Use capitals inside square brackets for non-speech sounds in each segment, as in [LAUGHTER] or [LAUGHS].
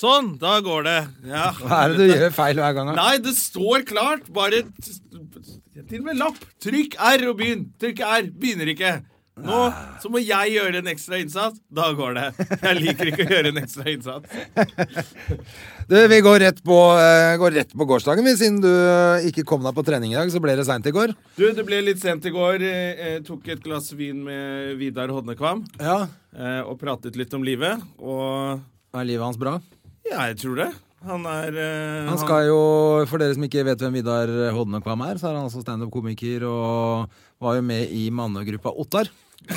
Sånn, da går det. Ja. Hva er det du gjør feil hver gang? da? Nei, det står klart. Bare t- til og med lapp. Trykk R og begynn. Trykk R. Begynner ikke. Nå så må jeg gjøre en ekstra innsats. Da går det. Jeg liker ikke å gjøre en ekstra innsats. Du, vi går rett på, eh, går rett på gårsdagen, vi, siden du eh, ikke kom deg på trening i dag, så ble det seint i går. Du, det ble litt sent i går. Eh, eh, tok et glass vin med Vidar Hodnekvam Ja. eh, og pratet litt om livet. Og Er livet hans bra? ja, jeg tror det. Han er eh, Han skal jo, for dere som ikke vet hvem Vidar Hodnekvam er, så er han altså standup-komiker og var jo med i mannegruppa Ottar. [LAUGHS]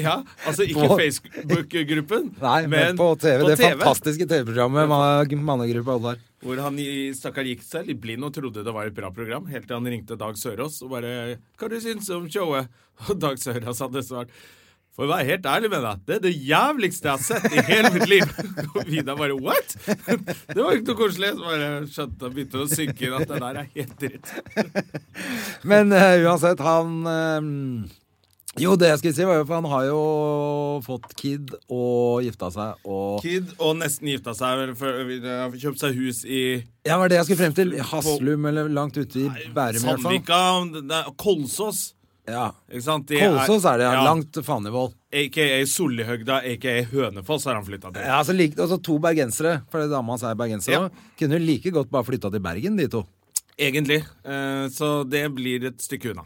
Ja, altså ikke På- Facebook-gruppen, Nei, men, på TV. det fantastiske TV-programmet Man- Mannegruppa Ottar. Hvor han i- stakkar gikk seg litt blind og trodde det var et bra program, helt til han ringte Dag Sørås og bare 'Hva du syns om showet?' [LAUGHS] Og Dag Sørås hadde svart for å være helt ærlig med deg, det er det jævligste jeg har sett i hele mitt liv. [LAUGHS] Og Vidar bare 'what?' [LAUGHS] Det var ikke noe koselig. Så bare skjønte begynte å synke inn at det der er helt dritt. Men eh, uansett, han eh, Jo, det jeg skulle si, var jo for han har jo fått kid og gifta seg og Kid og nesten gifta seg, eller for- har kjøpt seg hus i Ja, var det jeg skulle frem til? Haslum eller langt ute i Bærum, i hvert fall. Sandvika, det er Kolsås. Ja. Ikke sant? Det Kolsås er det, ja. Langt til Fannevold. Aka Sollihøgda, aka Hønefoss har han flytta til. Ja, så like, altså to bergensere, for dama hans er bergenser Ja. òg. Kunne jo like godt bare flytta til Bergen, de to. Egentlig. Eh, så det blir et stykke unna.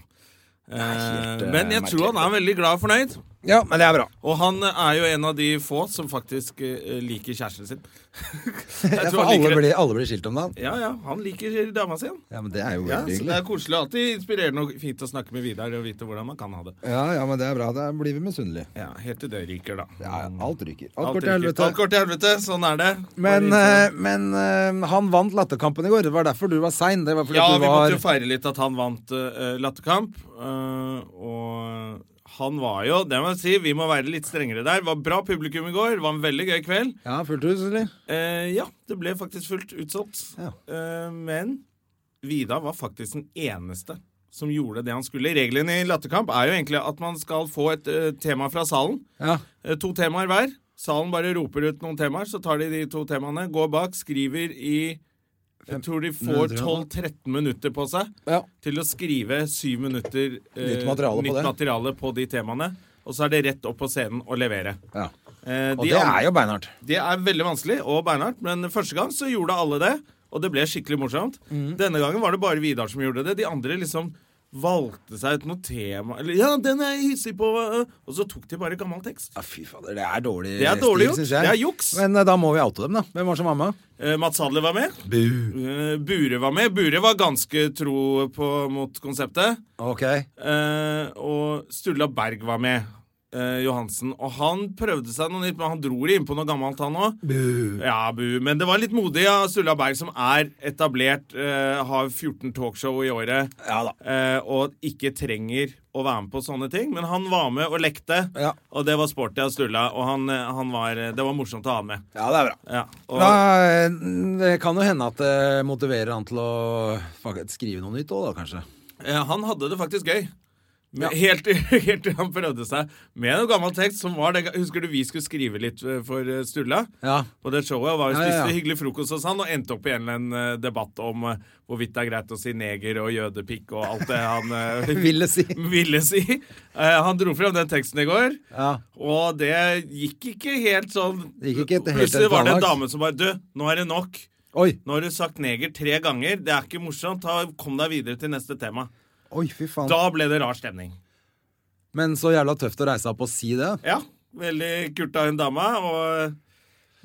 Eh, helt, eh, men jeg merkelig. tror han er veldig glad og fornøyd. [LAUGHS] Ja, men det er bra. Og han eh, er jo en av de få som faktisk eh, liker [LAUGHS] kjæresten sin. jeg for tror han alle liker det. blir, alle blir skilt om dagen. Ja, ja, han liker dama si. han. Ja, men det er jo Ja, veldig så det hyggelig. er koselig. Alltid inspirerende og fint å snakke med Vidar og vite hvordan man kan ha det. Ja, ja, men det er bra. Da blir vi misunnelige. Ja, Helt til det ryker, da. Ja, ja, alt ryker. Alt, Alt går til ryker. helvete. Alt går til helvete. Sånn er det. Men, Bare eh, men eh, han vant latterkampen i går. Det var derfor du var sein. Det var fordi Ja, at vi du måtte var jo feire litt at han vant eh, latterkamp. eh, og han var jo Det må jeg si, vi må være litt strengere der. Var bra publikum i går. Var en veldig gøy kveld. Ja, fullt hus, eller? Eh, ja, det ble faktisk fullt utsolgt. Ja. Eh, men Vidar var faktisk den eneste som gjorde det han skulle. Reglene i latterkamp er jo egentlig at man skal få et eh, tema fra salen. Ja. Eh, To temaer hver. Salen bare roper ut noen temaer, så tar de de to temaene, går bak, skriver i Jeg tror de får minutter, ja. 12-13 minutter på seg Ja. til å skrive syv minutter eh, Nytt materiale på nytt det. materiale på de temaene. Og så er det rett opp på scenen og levere. ja. Eh, Og de det andre- er jo beinhardt. det er veldig vanskelig og beinhardt, men første gang så gjorde alle det, og det ble skikkelig morsomt. Mm. Denne gangen var det bare Vidar som gjorde det. De andre liksom valgte seg ut noe tema eller, Ja, den er jeg hissig på! øh, Og så tok de bare gammel tekst. Ja, fy fader. Det er dårlig Det er dårlig stil, gjort. synes jeg. Det er juks. Men eh, da må vi oute dem, da. Hvem var som var med? Eh, Mats Hadler var med. Eh, Bure var med. Bure var ganske tro på, mot konseptet. Ok. Eh, og Sturla Berg var med. eh, Johansen. Og han prøvde seg noe nytt, men han dro det innpå noe gammelt, han òg. Ja, bu. Men det var litt modig av Sturla Berg, som er etablert, eh, har 14 talkshow i året, Ja da. eh, og ikke trenger å være med på sånne ting. Men han var med og lekte, Ja. og det var sporty av Sturla. Og han, eh, han var, det var morsomt å ha med. Ja, det er bra. Ja, og, Da, eh, det kan jo hende at det motiverer han til å faktisk skrive noe nytt òg, da kanskje. Eh, Han hadde det faktisk gøy. Men [LAUGHS] Helt, til- helt til han prøvde seg med noe gammel tekst. som var det, ga- Husker du vi skulle skrive litt eh, for eh, Sturla? Ja. På det showet og var, Ja, ja, spiste ja. hyggelig frokost hos han og endte opp i en eller annen eh, debatt om eh, hvorvidt det er greit å si neger og jødepikk og alt [LAUGHS] det han eh, Ville si. [LAUGHS] ville si. Eh, han dro frem den teksten i går, Ja. og det gikk ikke helt sånn. Det gikk ikke helt Plutselig var det planlagt. en dame som bare Du, nå er det nok. Oi. Nå har du sagt neger tre ganger. Det er ikke morsomt. Ta, kom deg videre til neste tema. Oi, fy faen. Da ble det rar stemning. Men så jævla tøft å reise seg opp og si det. Ja, veldig kult av en dame, og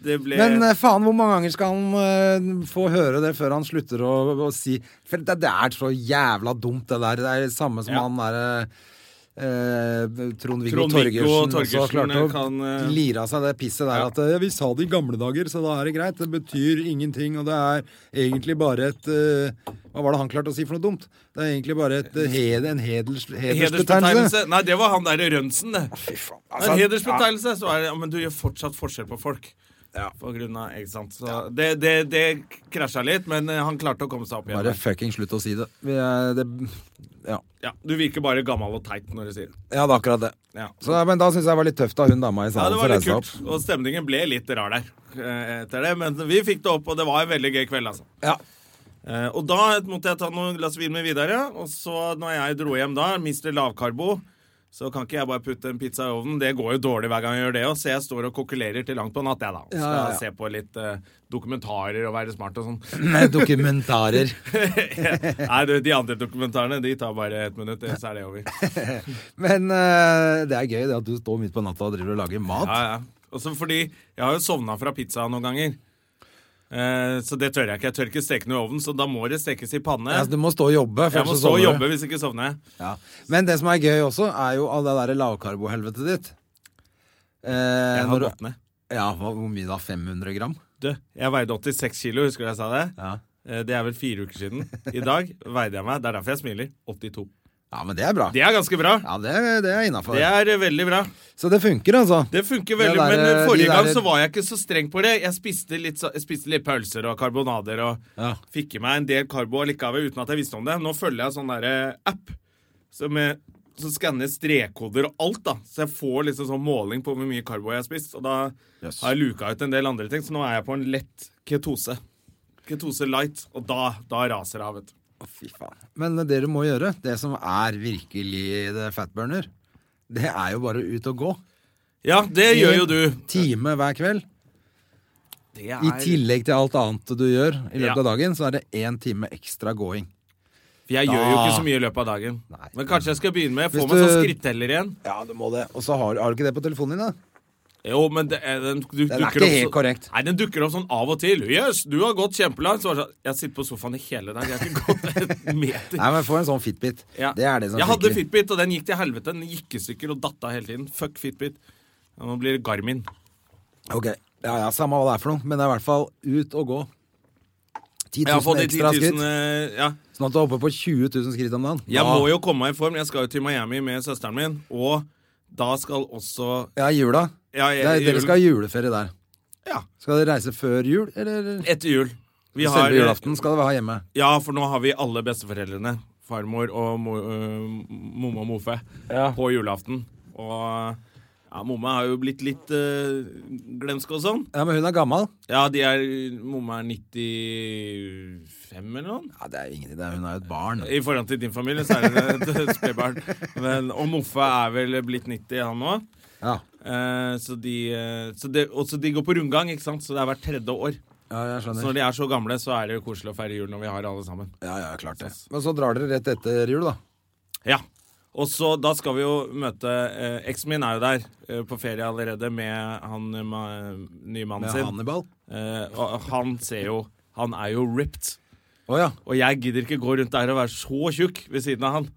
det ble Men eh, faen, hvor mange ganger skal han eh, få høre det før han slutter å, å si For det, det er så jævla dumt, det der. Det er det samme som Ja. han derre eh, Trond-Viggo Trond-Viggo Torgersen også Torgersen klarte å kan, eh, lire av seg det pisset der Ja. at eh, vi sa det i gamle dager, så da er det greit. Det betyr ingenting, og det er egentlig bare et eh, Hva var det han klarte å si for noe dumt? Det er egentlig bare et, eh, hed, en hedels, hedersbetegnelse. Hedersbetegnelse. Nei, det var han derre Rønsen, det. Fy faen. Men Altså, hedersbetegnelse, så er det ja, Men du gjør fortsatt forskjell på folk. Ja. På grunn av, ikke sant? Så det, det, det krasja litt, men eh, han klarte å komme seg opp ja, Bare igjen. fucking slutt å si det. Vi er, det ja. Ja, du virker bare gammel og teit når du sier det. ja, det er akkurat det. Ja. Så, ja, men da syns jeg det var litt tøft av hun dama i Ja, salen for det å var litt reise seg kult. opp. Og stemningen ble litt rar der eh, etter det. Men vi fikk det opp, og det var en veldig gøy kveld, altså. Ja. Eh, og da måtte jeg ta noen glass vin med Vidar, ja. Og så når jeg dro hjem da, Mr. Lavkarbo, så kan ikke jeg bare putte en pizza i ovnen. Det går jo dårlig hver gang jeg gjør det, og så jeg står og kokulerer til langt på natt, jeg da. Skal Ja, ja, ja. se på litt eh, dokumentarer og være smart og sånn. [LAUGHS] Med dokumentarer. Nei, du, de andre dokumentarene, de tar bare et minutt, så er det over. [LAUGHS] Men eh, det er gøy det at du står midt på natta og driver og lager mat. Ja, ja. Også fordi jeg har jo sovna fra pizza noen ganger. Eh, så det tør jeg ikke. Jeg tør ikke steke noe i ovnen, så da må det stekes i panne. Altså, du sånn, må stå og jobbe. for jeg må ellers så stå og sovner du. jobbe hvis ikke sovner jeg. Ja. Men det som er gøy også, er jo all det derre lavkarbohelvetet ditt. Eh, Jeg når har du- gått ned. Ja, hva- hvor mye da? 500 gram? Du, jeg veide 86 kilo, husker du jeg sa det? Ja. Eh, Det er vel fire uker siden. I dag veide jeg meg, det er derfor jeg smiler, 82. Ja, men det er bra. Det er ganske bra. Ja, det, det er innafor. Det er eh, veldig bra. Så det funker, altså. Det Det funker veldig, der, men eh, de forrige gang der- så var jeg ikke så streng på det. Jeg spiste litt, så- jeg spiste litt pølser og karbonader og Ja. fikk i meg en del karbo likevel uten at jeg visste om det. Nå følger jeg sånn derre app som, eh, som skanner strekkoder og alt, da. Så jeg får liksom sånn måling på hvor mye karbo jeg har spist. Og da Yes. har jeg luka ut en del andre ting, så nå er jeg på en lett ketose. Ketose light, og da, da raser det av, vet du. Å, fy faen. Men det du må gjøre, det som er virkelig det fatburner, det er jo bare ut og gå. Ja, det gjør jo du. Time hver kveld. Det er I tillegg til alt annet du gjør i løpet Ja. av dagen, så er det én time ekstra gåing. For jeg gjør jo Da. ikke så mye i løpet av dagen. Nei. Men kanskje jeg skal begynne med å få Hvis meg sånn du- skritteller igjen. Ja, du må det. Og så har, har du ikke det på telefonen din, da? Jo, men det, er- den, du, er dukker ikke opp helt så- korrekt. Nei, den dukker opp sånn av og til. Yes, du har gått kjempelangt. Så var det sånn, jeg sitter på sofaen i hele dag. Jeg har ikke [LAUGHS] gått en meter. Nei, men få en sånn Fitbit. Ja. Det er det som jeg hadde funker. Fitbit, og den gikk til helvete. Den gikk i stykker og datt av hele tiden. Fuck Fitbit. Ja, Nå blir det Garmin. Ok, ja, ja, samme hva det er for noe, men det er i hvert fall ut og gå. 10 Jeg har 000 fått de ekstra 10 000 skritt, eh, ja. sånn at du er oppe på 20 000 skritt om dagen. Jeg Da- må jo komme meg i form. Jeg skal jo til Miami med søsteren min. Og da skal også Ja, i jula. Ja, Det jeg- er, dere jul- skal ha juleferie der. ja Skal dere reise før jul, eller etter jul. Vi har- eh, selve julaften skal dere ha hjemme? Ja, for nå har vi alle besteforeldrene, farmor og mo, øh, momma og mofe, på julaften. Og ja, momma har jo blitt litt øh, glemsk og sånn. Ja, men hun er gammel. Ja, de er, momma er 95 eller noe. Ja, det er jo ingenting, det er, hun er jo et barn. I forhold til din familie så er det et spedbarn. Men- Og moffe er vel blitt 90, han òg. Ja, Eh, så de, eh, så det- og så de går på rundgang, ikke sant? så det er hvert tredje år. ja jeg Så når skjønner. de er så gamle, så er det jo koselig å feire jul når vi har alle sammen. Ja, ja, klart det. Men så drar dere rett etter jul, da. Ja. Og så da skal vi jo møte eh, Eksen min er jo der eh, på ferie allerede med han eh, ma- nye mannen Med sin. Hannibal. Eh, og han ser jo Han er jo ripped. Å ja. Og jeg gidder ikke gå rundt der og være så tjukk ved siden av han.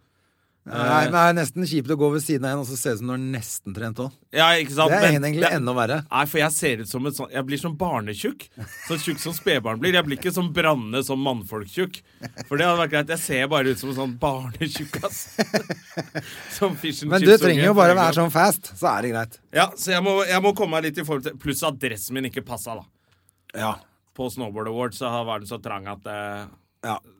Nei, men det er nesten kjipt å gå ved siden av en og så se ut som du er nesten trent òg. Ja, ikke sant? Det er Men- egentlig det- enda verre. Nei, for jeg ser ut som en sånn Jeg blir som barnetjukk. Så tjukk som spedbarn blir. Jeg blir ikke som branne som mannfolktjukk. For det hadde vært greit. Jeg ser bare ut som en sånn barnetjukkas. [LAUGHS] som fish and Men du chips-unge trenger jo på bare England. være sånn fast, så er det greit. Ja, så jeg må, jeg må komme meg litt i form til Pluss at dressen min ikke passa, da. Ja. På Snowboard Awards så var den så trang at eh, [LAUGHS] Ja. eh,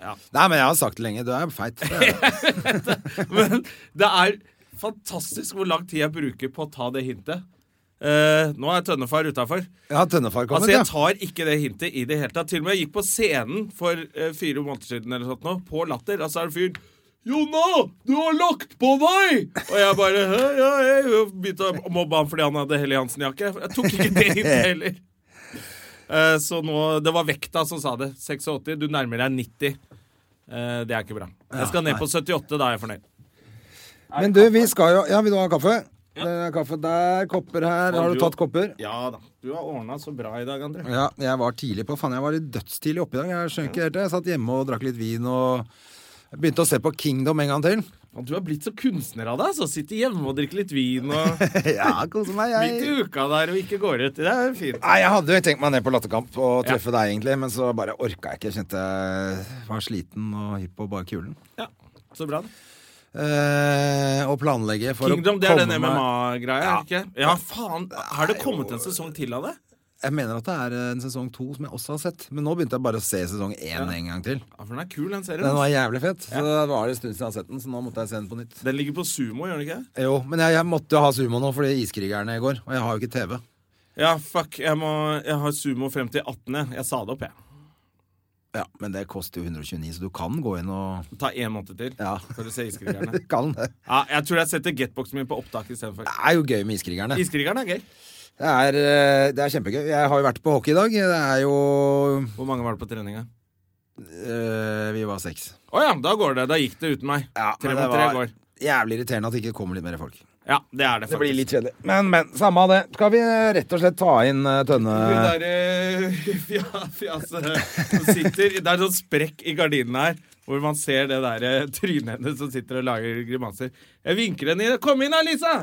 Ja. Nei, men jeg har sagt det lenge. Du er feit. Det er det. Men det er fantastisk hvor lang tid jeg bruker på å ta det hintet. Eh, nå er Tønnefar utafor. Ja, Tønnefar Altså, kommet, jeg ja. tar ikke det hintet i det hele tatt. Til og med jeg gikk på scenen for eh, fire måneder siden eller sånt nå, på Latter. Altså er det fyren Jonna, du har lagt på deg! Og jeg bare «Hæ, ja, jeg», og begynte å mobbe han fordi han hadde Helle Hansen-jakke. Jeg tok ikke det hintet [LAUGHS] heller. Eh, så nå Det var vekta som sa det. 86. Du nærmer deg 90. Eh, det er ikke bra. Jeg skal ned på 78, da er jeg fornøyd. Men du, vi skal jo Ja, vil du ha kaffe? Det er kaffe der, kopper her. Har du tatt kopper? Ja da. Du har ordna så bra i dag, André. Ja, jeg var tidlig på. Faen, jeg var litt dødstidlig oppe i dag. Jeg skjønner ikke helt det. Jeg satt hjemme og drakk litt vin og begynte å se på Kingdom en gang til. Faen, du har blitt så kunstner av deg, så sitter hjemme og drikker litt vin og [LAUGHS] ja, kose meg, midt i uka der og ikke går ut. Det er fint. Nei, Jeg hadde jo tenkt meg ned på Latterkamp og treffe deg, egentlig, men så bare orka jeg ikke. Jeg kjente jeg var sliten og hypp på bare kulen. Ja, så bra. Eh, og planlegge for Kingdom, å det er komme den meg MMA-greia, er det ikke? Ja, faen. Har det kommet en sesong til av det? Jeg mener at det er eh, en sesong to som jeg også har sett, men nå begynte jeg bare å se sesong én en gang til. Ja, for den er kul, den serien. Den ass. var jævlig fett. Så det var en stund siden jeg har sett den, så nå måtte jeg se den på nytt. Den ligger på sumo, gjør den ikke? Jo, men jeg, jeg måtte jo ha sumo nå fordi Iskrigerne i går, og jeg har jo ikke TV. Ja, fuck. Jeg, må, jeg har sumo frem til 18. jeg. Jeg sa det opp, jeg. Ja, Men det koster jo 129, så du kan gå inn og Ta én måned til Ja. for å se Iskrigerne. Du [LAUGHS] kan det. Ja, jeg tror jeg setter getboxen min på opptak istedenfor. Det er jo gøy med Iskrigerne. Iskrigerne er gøy. Det er, eh, det er kjempegøy. Jeg har jo vært på hockey i dag. Det er jo Hvor mange var det på treninga? eh, Vi var seks. Å ja, da går det. Da gikk det uten meg. Ja, tre men mot det tre var- går. Jævlig irriterende at det ikke kommer litt mer folk. Ja, det er det faktisk. kjedelig. Men, men. Samme av det. Skal vi eh, rett og slett ta inn eh, Tønne Hun der eh, [LAUGHS] fja, fjaset som sitter Det er sånn sprekk i gardinene her hvor man ser det der eh, trynet hennes som sitter og lager grimaser. Jeg vinker henne inn. Kom inn da, Lisa!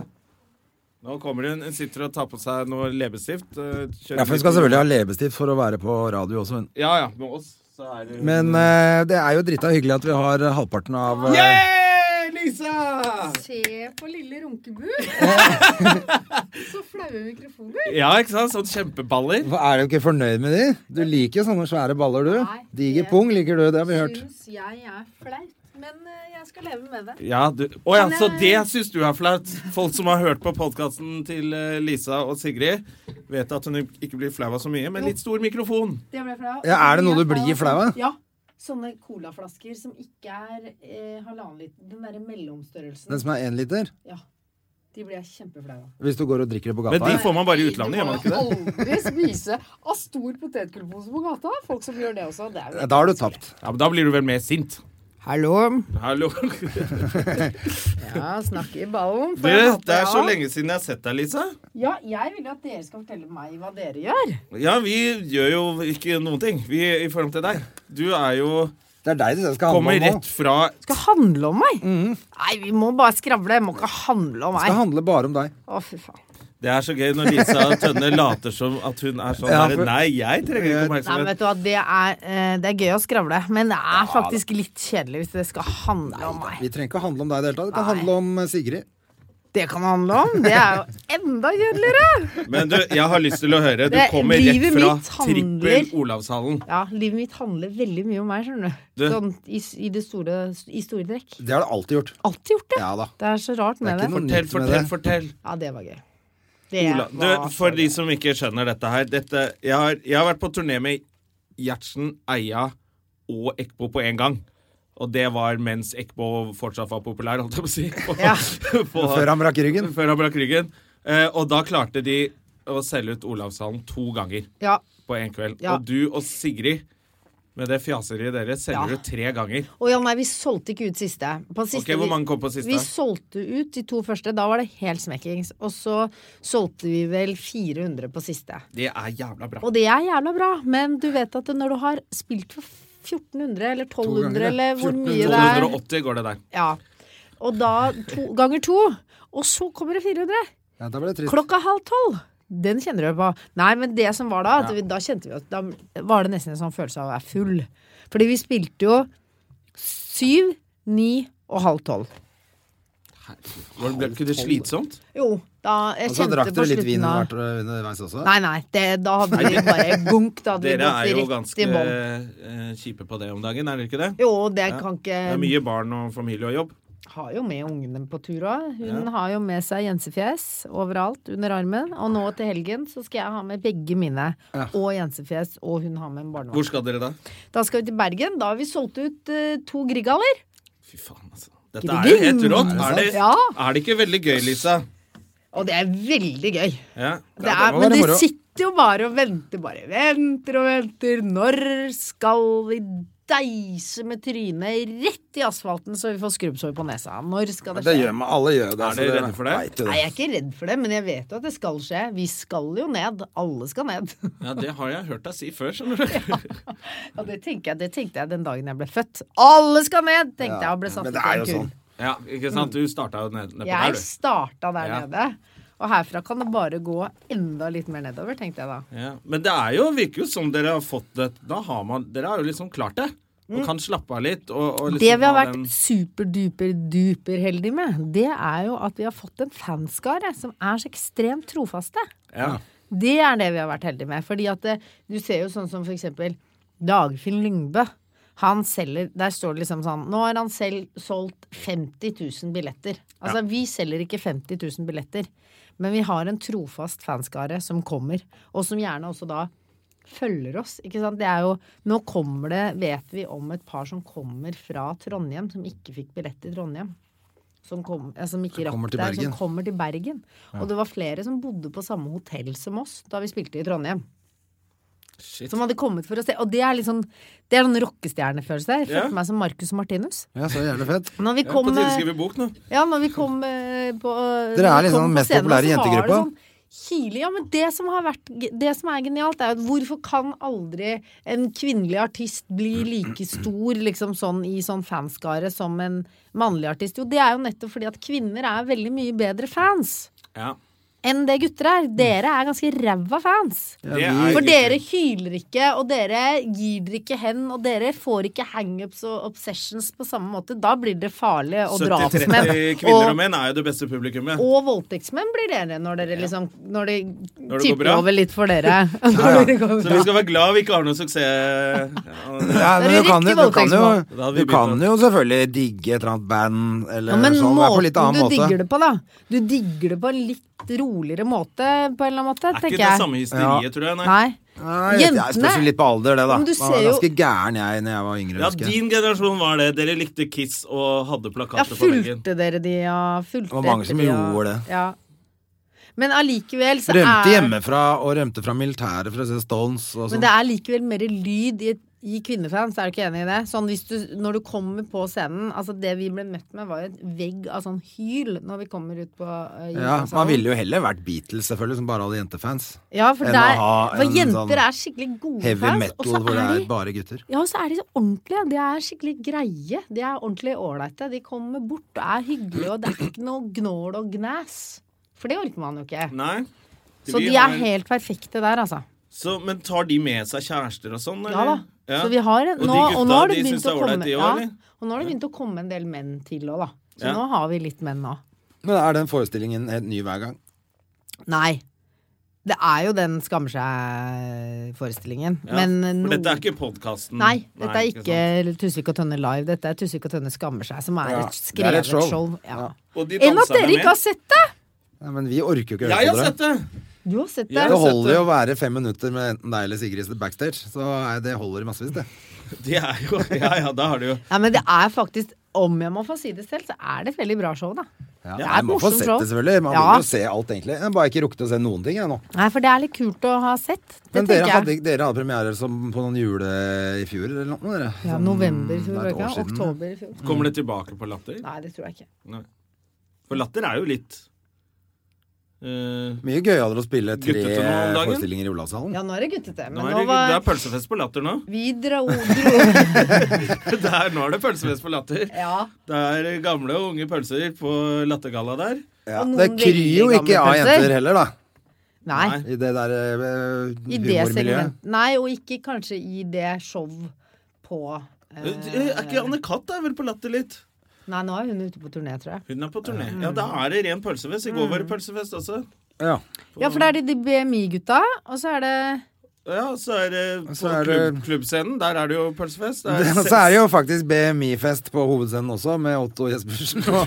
Nå kommer hun. Hun sitter og tar på seg noe leppestift. eh, kjører Ja, for Hun skal litt- selvfølgelig ha leppestift for å være på radio også. hun. Ja, ja. Med oss så er det Men eh, det er jo drita hyggelig at vi har eh, halvparten av eh, Yeah, Lisa! Se på lille [LAUGHS] runkebu. Så flaue mikrofoner. Ja, ikke sant? Sånn kjempeballer. Hva, Er du ikke fornøyd med de? Du liker jo sånne svære baller, du. Nei, Diger det- pung liker du, det har vi hørt. Syns jeg er flaut, men eh, jeg skal leve med det. Ja, du... Å ja, Kan så det jeg- syns du er flaut? Folk som har hørt på podkasten til eh, Lisa og Sigrid, vet at hun ikke blir flau av så mye, men litt stor mikrofon. Det ble flau. Ja, er det noe du blir Jeg er flau av? Ja. Sånne colaflasker som ikke er eh, halvannen liter. Den derre mellomstørrelsen. Den som er én liter. Ja. De blir jeg kjempeflau av. Hvis du går og drikker det på gata. Men de ja. får man bare i utlandet, gjør man ikke det? Aldri spise av stor potetgullpose på gata. Folk som gjør det også. Det er jo Da har du tapt. Ja, men Da blir du vel mer sint? Hallo. [LAUGHS] Hallo. Ja, snakk i ballen. Du, det er så lenge siden jeg har sett deg, Lisa. Ja, jeg vil at dere skal fortelle meg hva dere gjør. Ja, vi gjør jo ikke noen ting vi, i forhold til deg. Du er jo Det er deg det skal handle Kommer om nå. rett fra Skal handle om meg? Nei, vi må bare skravle. Det må ikke handle om Det meg. skal handle bare om deg. Å, fy faen. Det er så gøy når Lisa Tønne later som at hun er sånn Ja, der, for- Nei, jeg trenger ikke Nei, men oppmerksomhet. vet du hva, det er, eh, det er gøy å skravle, men det er faktisk litt kjedelig hvis det skal handle om meg. Vi trenger ikke å handle om deg i det hele tatt. Det kan handle om eh, Sigrid. Det kan handle om. Det er jo [LAUGHS] enda kjedeligere. Men du, jeg har lyst til å høre. Du Det- kommer rett livet fra mitt handler- trippel Olavshallen. Ja, livet mitt handler veldig mye om meg, skjønner du. Du- Sånn i, s- i, det store, i store trekk. Det har du alltid gjort. Alltid gjort det. Ja da. Det er så rart Det er med ikke noe det. Fortell, nytt med det. fortell, fortell. Ja, det var gøy. Det Ola, du, var så for de gøy. som ikke skjønner dette her dette, jeg, har, jeg har vært på turné med Gjertsen, Eia og Ekbo på én gang. Og det var mens Ekbo fortsatt var populær, holdt jeg på å [LAUGHS] si. På, Ja. [LAUGHS] på, Før han brakk ryggen. før han brakk ryggen. Eh, og da klarte de å selge ut Olavshallen to ganger Ja, på én kveld. Ja. Og du og Sigrid, med det fjaseriet deres, Ja. selger ut tre ganger. Å ja, nei, vi solgte ikke ut siste. På siste Ok, Hvor vi- mange kom på Vi siste? solgte ut de to første. Da var det helt smekkings. Og så solgte vi vel 400 på siste. Det er jævla bra. Og det er jævla bra, men du vet at når du har spilt for 1400 eller 1200 ganger, ja. eller hvor mye det er 280 går det der. ja. Og da to, ganger to, og så kommer det 400. Ja, da ble det trist. Klokka halv tolv. Den kjenner du på. Nei, men det som var da, at vi, da kjente vi at da var det nesten en sånn følelse av å være full. Fordi vi spilte jo syv, ni og halv tolv. Var det- Ble ikke det slitsomt? Jo, da jeg Og så kjente drakk på dere litt vin slutten av hvert- underveis også. Nei, nei, det, da hadde vi bare gunk. Da [LAUGHS] hadde Dere er vi jo gått ganske i riktig bånd. eh, kjipe på det om dagen, er dere ikke det? Jo, det Ja, kan ikke Det er mye barn og familie og jobb. Har jo med ungene på tur òg. Hun har jo med seg jensefjes overalt under armen. Og nå til helgen så skal jeg ha med begge mine. Og jensefjes, og hun har med en Hvor barnevogn. skal dere da? Da skal vi til Bergen. Da har vi solgt ut eh, to Grigaller. Mm. Fy faen, altså. Dette er jo helt rått. Er det, Ja. er det ikke veldig gøy, Lisa? Og det er veldig gøy. Ja. Det det er, må men være de moro. sitter jo bare og venter, bare venter og venter. Når skal vi deise med trynet rett i asfalten så vi får skrubbsår på nesa? Når skal det Det skje? gjør meg, alle gjør det. Er dere redde for det? Vet du Nei, det. jeg er ikke redd for det, men jeg vet jo at det skal skje. Vi skal jo ned. Alle skal ned. [LAUGHS] ja, det har jeg hørt deg si før, skjønner du. Og det, tenker jeg, det tenkte jeg den dagen jeg ble født. Alle skal ned, tenkte jeg og ble satt men ut det på er en jo kul. sånn. Ja, ikke sant? Du starta jo ned- nedpå der, Jeg du. starta der Ja. nede. Og herfra kan det bare gå enda litt mer nedover, tenkte jeg da. Ja. Men det er jo, virker jo som dere har fått det Da har man Dere har jo liksom klart det. Og kan slappe av litt. Og, og liksom Mm. Det vi har ha vært den- superduper-duper heldige med, det er jo at vi har fått en fanskare som er så ekstremt trofaste. ja. Det er det vi har vært heldige med. Fordi at eh, du ser jo sånn som for eksempel Dagfinn Lyngbø. Han selger, Der står det liksom sånn Nå har han selv solgt 50 000 billetter. Altså, vi selger ikke 50 000 billetter, men vi har en trofast fanskare som kommer, og som gjerne også da følger oss. ikke sant? Det er jo, Nå kommer det, vet vi om et par som kommer fra Trondheim, som ikke fikk billett i Trondheim. Som, kom, eh, som ikke kommer rakk til der, Bergen. som kommer til Bergen. Og det var flere som bodde på samme hotell som oss da vi spilte i Trondheim. Som hadde kommet for å se. Og det er litt sånn Det er sånn rockestjernefølelse. Jeg følte Ja. meg som Marcus og Martinus. Ja, så jævlig [LAUGHS] fett. Når vi Ja, På kom, tide å eh, skrive bok nå. ja, når vi kom eh, på Dere er når vi liksom kom den på mest scenen, populære så var det jentegruppa. sånn Kilig, ja, men det som, har vært, det som er genialt, er jo at hvorfor kan aldri en kvinnelig artist bli like stor liksom sånn, i sånn fanskare som en mannlig artist? Jo, det er jo nettopp fordi at kvinner er veldig mye bedre fans Ja. enn det gutter er. Dere er ganske ræva fans. Det er For dere hyler ikke, og dere gir dere ikke hen, og dere får ikke hangups og obsessions på samme måte. Da blir det farlig og 70-30 drapsmenn. kvinner og Og, menn er jo det beste publikummet. og voldtektsmenn blir dere når dere liksom Når det går tipper bra. over litt for [LAUGHS] dere. Når det går Så bra. vi skal være glad vi ikke har noen suksess. Ja, Ja, men Det er du kan, jo- du, riktig kan jo, voldtektsmål. Da hadde vi du kan begynt jo selvfølgelig digge et eller annet band eller Ja, men sånn, det er på litt måten annen du måte. digger det på, da. Du digger det på en litt roligere måte, på en eller annen måte, Er ikke tenker det jeg. samme hysteriet, tror jeg. Nei. Nei. Nei, jeg, jeg spørs jo litt på alder, det, da. Men du Jeg var ser jo- ganske gæren jeg når jeg var yngre. Ja, husker jeg. din generasjon var det. Dere likte Kiss og hadde Ja, plakater på veggen. fulgte dere de, ja? Det Fulgte var mange som etter de, ja. gjorde det. Ja. Men allikevel så Rømte er hjemmefra og rømte fra militæret for å se Stones og Men sånn. det er likevel mer lyd i, i kvinnefans, er du ikke enig i det? Sånn hvis du, når du kommer på scenen Altså det vi ble møtt med var jo et vegg av sånn hyl når vi kommer ut på eh, Ja, gymsalen. man ville jo heller vært Beatles, selvfølgelig, som bare hadde jentefans. Ja, for, enn å der, ha en for jenter sånn er skikkelig gode Heavy fans. og metal så hvor det er er de bare gutter. ja, og så er de så ordentlige. De er skikkelig greie. De er ordentlig ålreite. De kommer bort og er hyggelige, og det er ikke noe gnål og gnæs. For det orker man jo ikke. Nei. Så Vi de har- er helt perfekte der, altså. så, men tar de med seg kjærester og sånn, Ja da. eller? Ja. Så vi har Og en, de nå, gutta, og nå har det de syns begynt det å er komme ålreit, de ja, også, eller? Og nå har det begynt å komme en del menn til òg, da. Så Ja. nå har vi litt menn nå. Men er den forestillingen helt ny hver gang? Nei. Det er jo den skammer seg-forestillingen. Ja, Men For noen- dette er ikke podkasten. Nei, dette er ikke Tusvik og Tønne live. Dette er Tusvik og Tønne skammer seg, som er Ja, et det er skrevet et show. show. Ja. Og de Enn danserne at dere med. ikke har sett det! Nei, men vi orker jo ikke å Jeg høre har på sett dere. det! Du har sett Ja. det. Det har sett holder det. jo å være fem minutter med enten deg eller Sigrid backstage. Så er det holder i massevis, det. Det er jo Ja, ja, da har du jo Ja, men det er faktisk, om jeg må få si det selv, så er det et veldig bra show, da. Ja, Det er nei, et man får morsomt sett show. det, selvfølgelig. Man Ja. vil jo se alt, egentlig. Jeg har bare ikke rukket å se noen ting, jeg nå. Nei, for det er litt kult å ha sett. Det Men dere tenker hadde, jeg. dere hadde premiere som på noen jule i fjor, eller noe? Dere. Ja, Sånn, november i det fjor, er var et det år ikke? siden. Oktober i fjor. Kommer det tilbake på latter? Nei, det tror jeg ikke. Nei. For latter er jo litt eh, Mye gøyere å spille tre Guttete nå om dagen. forestillinger i Olavshallen. Ja, nå er det guttete. nå Men er nå det, det var er pølsefest på latter nå. [LAUGHS] Vi dro, dro [LAUGHS] Det er, nå er det pølsefest på latter. Ja. Det er gamle og unge pølser på lattergalla der. Ja. Og noen Det kryr jo veldig ikke gamle av pølser. jenter heller, da. Nei. Nei. I det der eh, I det humormiljøet. segmentet. Nei, og ikke kanskje i det show på eh, Eh, Er ikke Anne Katt er vel på latter litt? Nei, nå er hun ute på turné, tror jeg. Hun er på turné. Eh. Ja, da er det ren pølsefest. I går var det pølsefest også. Ja. Ja, for da er det de BMI-gutta, og så er det Ja, så er det på Så er det- klubb, klubbscenen. Der er det jo pølsefest. Det [LAUGHS] [LAUGHS] Så er det jo faktisk BMI-fest på hovedscenen også, med Otto Jespersen og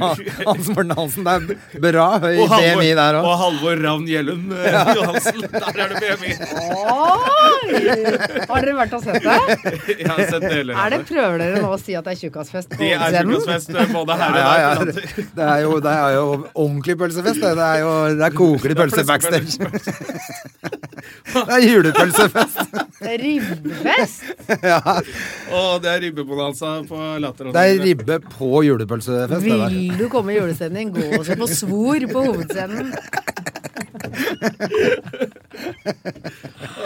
Hans Morten Hansen. Det er bra høy Og Halvor, BMI der òg. og Halvor Ravn [LAUGHS] Gjellum eh, Johansen. Der er det BMI. Oi! Har dere vært og sett det? Jeg har sett deler av Er det Prøver dere nå å si at det er tjukkasfest på Det er scenen? frokostfest eh, både her og Ja, der. ja, på det, [LAUGHS] latter. det er jo, det er jo ordentlig pølsefest. Det, det er jo det er kokelig pølse backstage. [LAUGHS] Det er julepølsefest. Ribbefest? Og det er ribbebonanza på Latter. også. Det er ribbe på julepølsefest. Det der. Vil du komme i julestemning, gå og se på Svor på hovedscenen.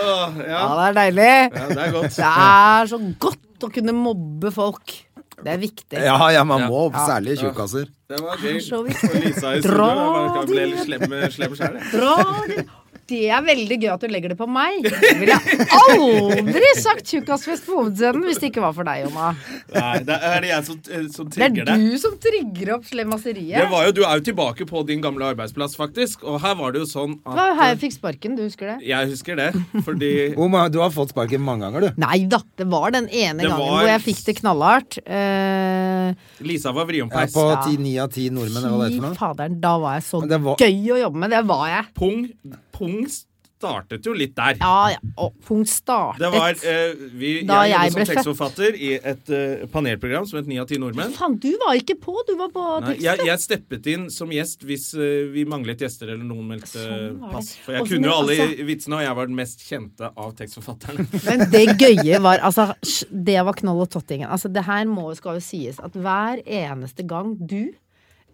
Åh, ja. Ja, det er deilig. ja, det er godt. Det er så godt å kunne mobbe folk. Det er viktig. Ja, ja, man må Ja. særlig tjukkaser. Det var gøy. Ah, så vidt. Og Lisa i studio Dra jeg bare de- ble litt slem, slem selv, jeg. Bra! det- Det er veldig gøy at du legger det på meg. Det ville jeg aldri sagt tjukkasfest på hovedscenen hvis det ikke var for deg, Jonna. Nei, det er det jeg som, eh, som Det trigger er det. du som trigger opp Det slemmaseriet. var jo, Du er jo tilbake på din gamle arbeidsplass, faktisk. Og her var det jo sånn Det var jo her at jeg fikk sparken, du husker det? Jeg husker det, fordi Hvor mange- Du har fått sparken mange ganger, du. Nei da, det var den ene Det gangen var- hvor jeg fikk det knallhardt. Eh, Lisa var Ja, vriompeis. på ti- ni av ti nordmenn, eller hva det fy heter for noe. faderen, da var jeg så Men det var- gøy å jobbe med. Det var jeg. Pung, pung startet jo litt der. Ja, ja. Og punkt startet. Det var eh, vi, Da Jeg jeg jobbet som ble tekstforfatter i et eh, panelprogram som het Ni av ti nordmenn. Faen, du var ikke på! Du var på Nei, teksten. jeg, jeg steppet inn som gjest hvis eh, vi manglet gjester eller noen meldte Sånn var det. altså- pass. For jeg Og så kunne jo alle når- vitsene, og jeg var den mest kjente av [LAUGHS] tekstforfatterne. Men det gøye var altså, sj- Det var knoll og tottingen. Altså, det her må, skal jo sies at hver eneste gang du,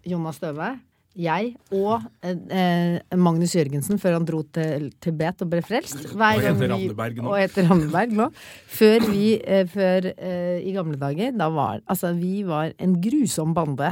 Jonas Støve, jeg og eh, eh, Magnus Jørgensen, før han dro til Tibet og ble frelst hver Og heter gang vi- Randeberg nå. Og heter Randeberg nå. Før vi eh, før, eh, I gamle dager, da var Altså, vi var en grusom bande.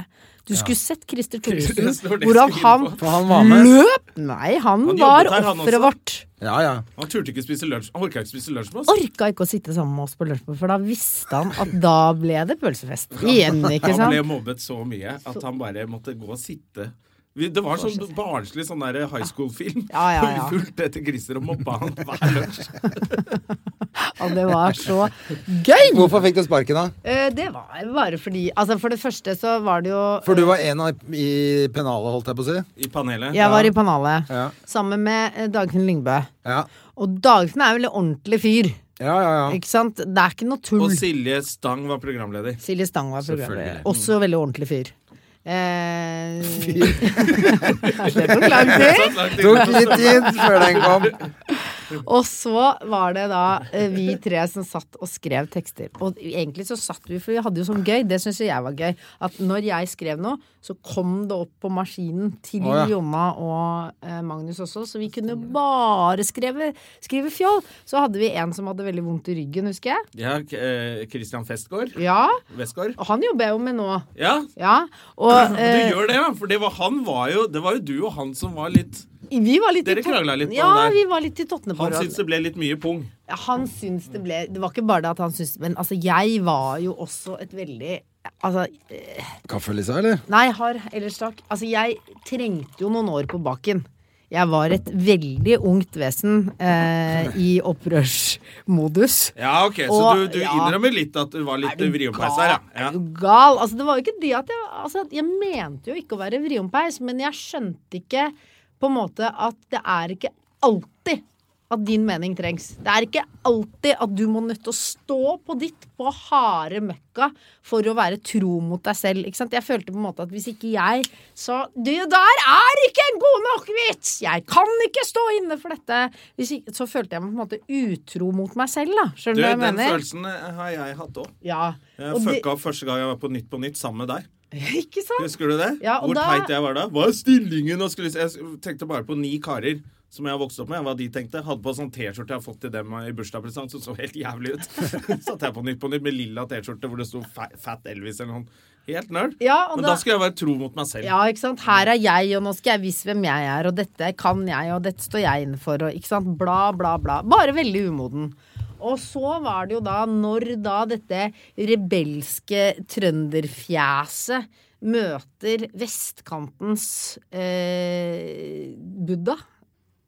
Du skulle sett Christer Thoresen, Det var det jeg hvordan skulle han inn på. For han var med. løp! Nei, han, Han jobbet var her, han også. offeret vårt Ja, ja. Han turte ikke spise lunsj. Han orka ikke spise lunsj med oss. orka ikke å sitte sammen med oss på lunsjbordet, for da visste han at da ble det pølsefest. Igjen, ikke Han ble sant? mobbet så mye at han bare måtte gå og sitte. Vi- Det var sånn barnslig sånn der high school-film. Ja, ja, ja. Og Vi fulgte etter Christer og mobba han hver lunsj. Og det var så gøy! Hvorfor fikk du sparken, da? Eh, Det var bare fordi Altså, for det første så var det jo For du var en av i pennalet, holdt jeg på å si. I panelet. eh, Jeg var i panelet Ja. sammen med eh, Dagfinn Lyngbø. Ja, Og Dagfinn er jo en ordentlig fyr, ja, ja. ja. ikke sant? Det er ikke noe Og tull. Silje Stang var programleder. Silje Stang var programleder. Også veldig ordentlig fyr. Eh, [LAUGHS] det tok lang tid. Tok litt tid før den kom. Og så var det da eh, vi tre som satt og skrev tekster. Og egentlig så satt vi, for vi hadde jo sånn gøy, det syns jo jeg var gøy, at når jeg skrev noe, så kom det opp på maskinen til Å, ja. Jonna og eh, Magnus også, så vi kunne bare skrive, skrive fjoll. Så hadde vi en som hadde veldig vondt i ryggen, husker jeg. Ja, K- eh, Christian Festgaard. Ja, Westgaard. og han jobber jeg jo med nå. Ja, Ja, [CLEARS THROAT] og du eh, gjør det, ja. For det var, han var jo, det var jo du og han som var litt vi var litt Dere i tot- krangla litt på ja, det der. vi var litt i tottene på Han hverandre. syntes det ble litt mye pung. Ja, Han syns det ble Det var ikke bare det at han syns Men altså, jeg var jo også et veldig Altså, eh, Kaffe, Lisa, eller? nei, har ellers takk. Altså, jeg trengte jo noen år på baken. Jeg var et veldig ungt vesen eh, i opprørsmodus. Ja, ok, Så Og- du, du ja. innrømmer litt at du var litt vriompeis her, ja. ja. Er du gal? Altså, det var jo ikke det at jeg altså, at Jeg mente jo ikke å være vriompeis, men jeg skjønte ikke på en måte at det er ikke alltid at din mening trengs. Det er ikke alltid at du må nødt til å stå på ditt på harde møkka for å være tro mot deg selv. Ikke sant? Jeg følte på en måte at hvis ikke jeg sa Det der er ikke en god nok vits! Jeg kan ikke stå inne for dette! Hvis ikke, så følte jeg meg på en måte utro mot meg selv, da. Du, Skjønner du hva jeg den mener? følelsen eh, har jeg hatt òg. Ja. Jeg Og det- fucka opp første gang jeg var på Nytt på Nytt sammen med deg. [LAUGHS] Ikke sant? Husker du det? Ja, og Hvor da- teit jeg var da. Hva er stillingen? Og skulle, jeg tenkte bare på ni karer som jeg har vokst opp med. Hva de tenkte. Hadde på sånn T-skjorte jeg har fått til dem i bursdagspresang som så helt jævlig ut. [LAUGHS] Satt jeg på Nytt på Nytt med lilla T-skjorte hvor det sto Fa- Fat Elvis eller noe. Helt nerd. Ja, og Men da- da skulle jeg være tro mot meg selv. Ja, ikke sant. Her er jeg, og nå skal jeg vise hvem jeg er, og dette kan jeg, og dette står jeg inne for, og ikke sant. Bla, bla, bla. Bare veldig umoden. Og så var det jo da, når da dette rebelske trønderfjeset møter vestkantens eh, Buddha,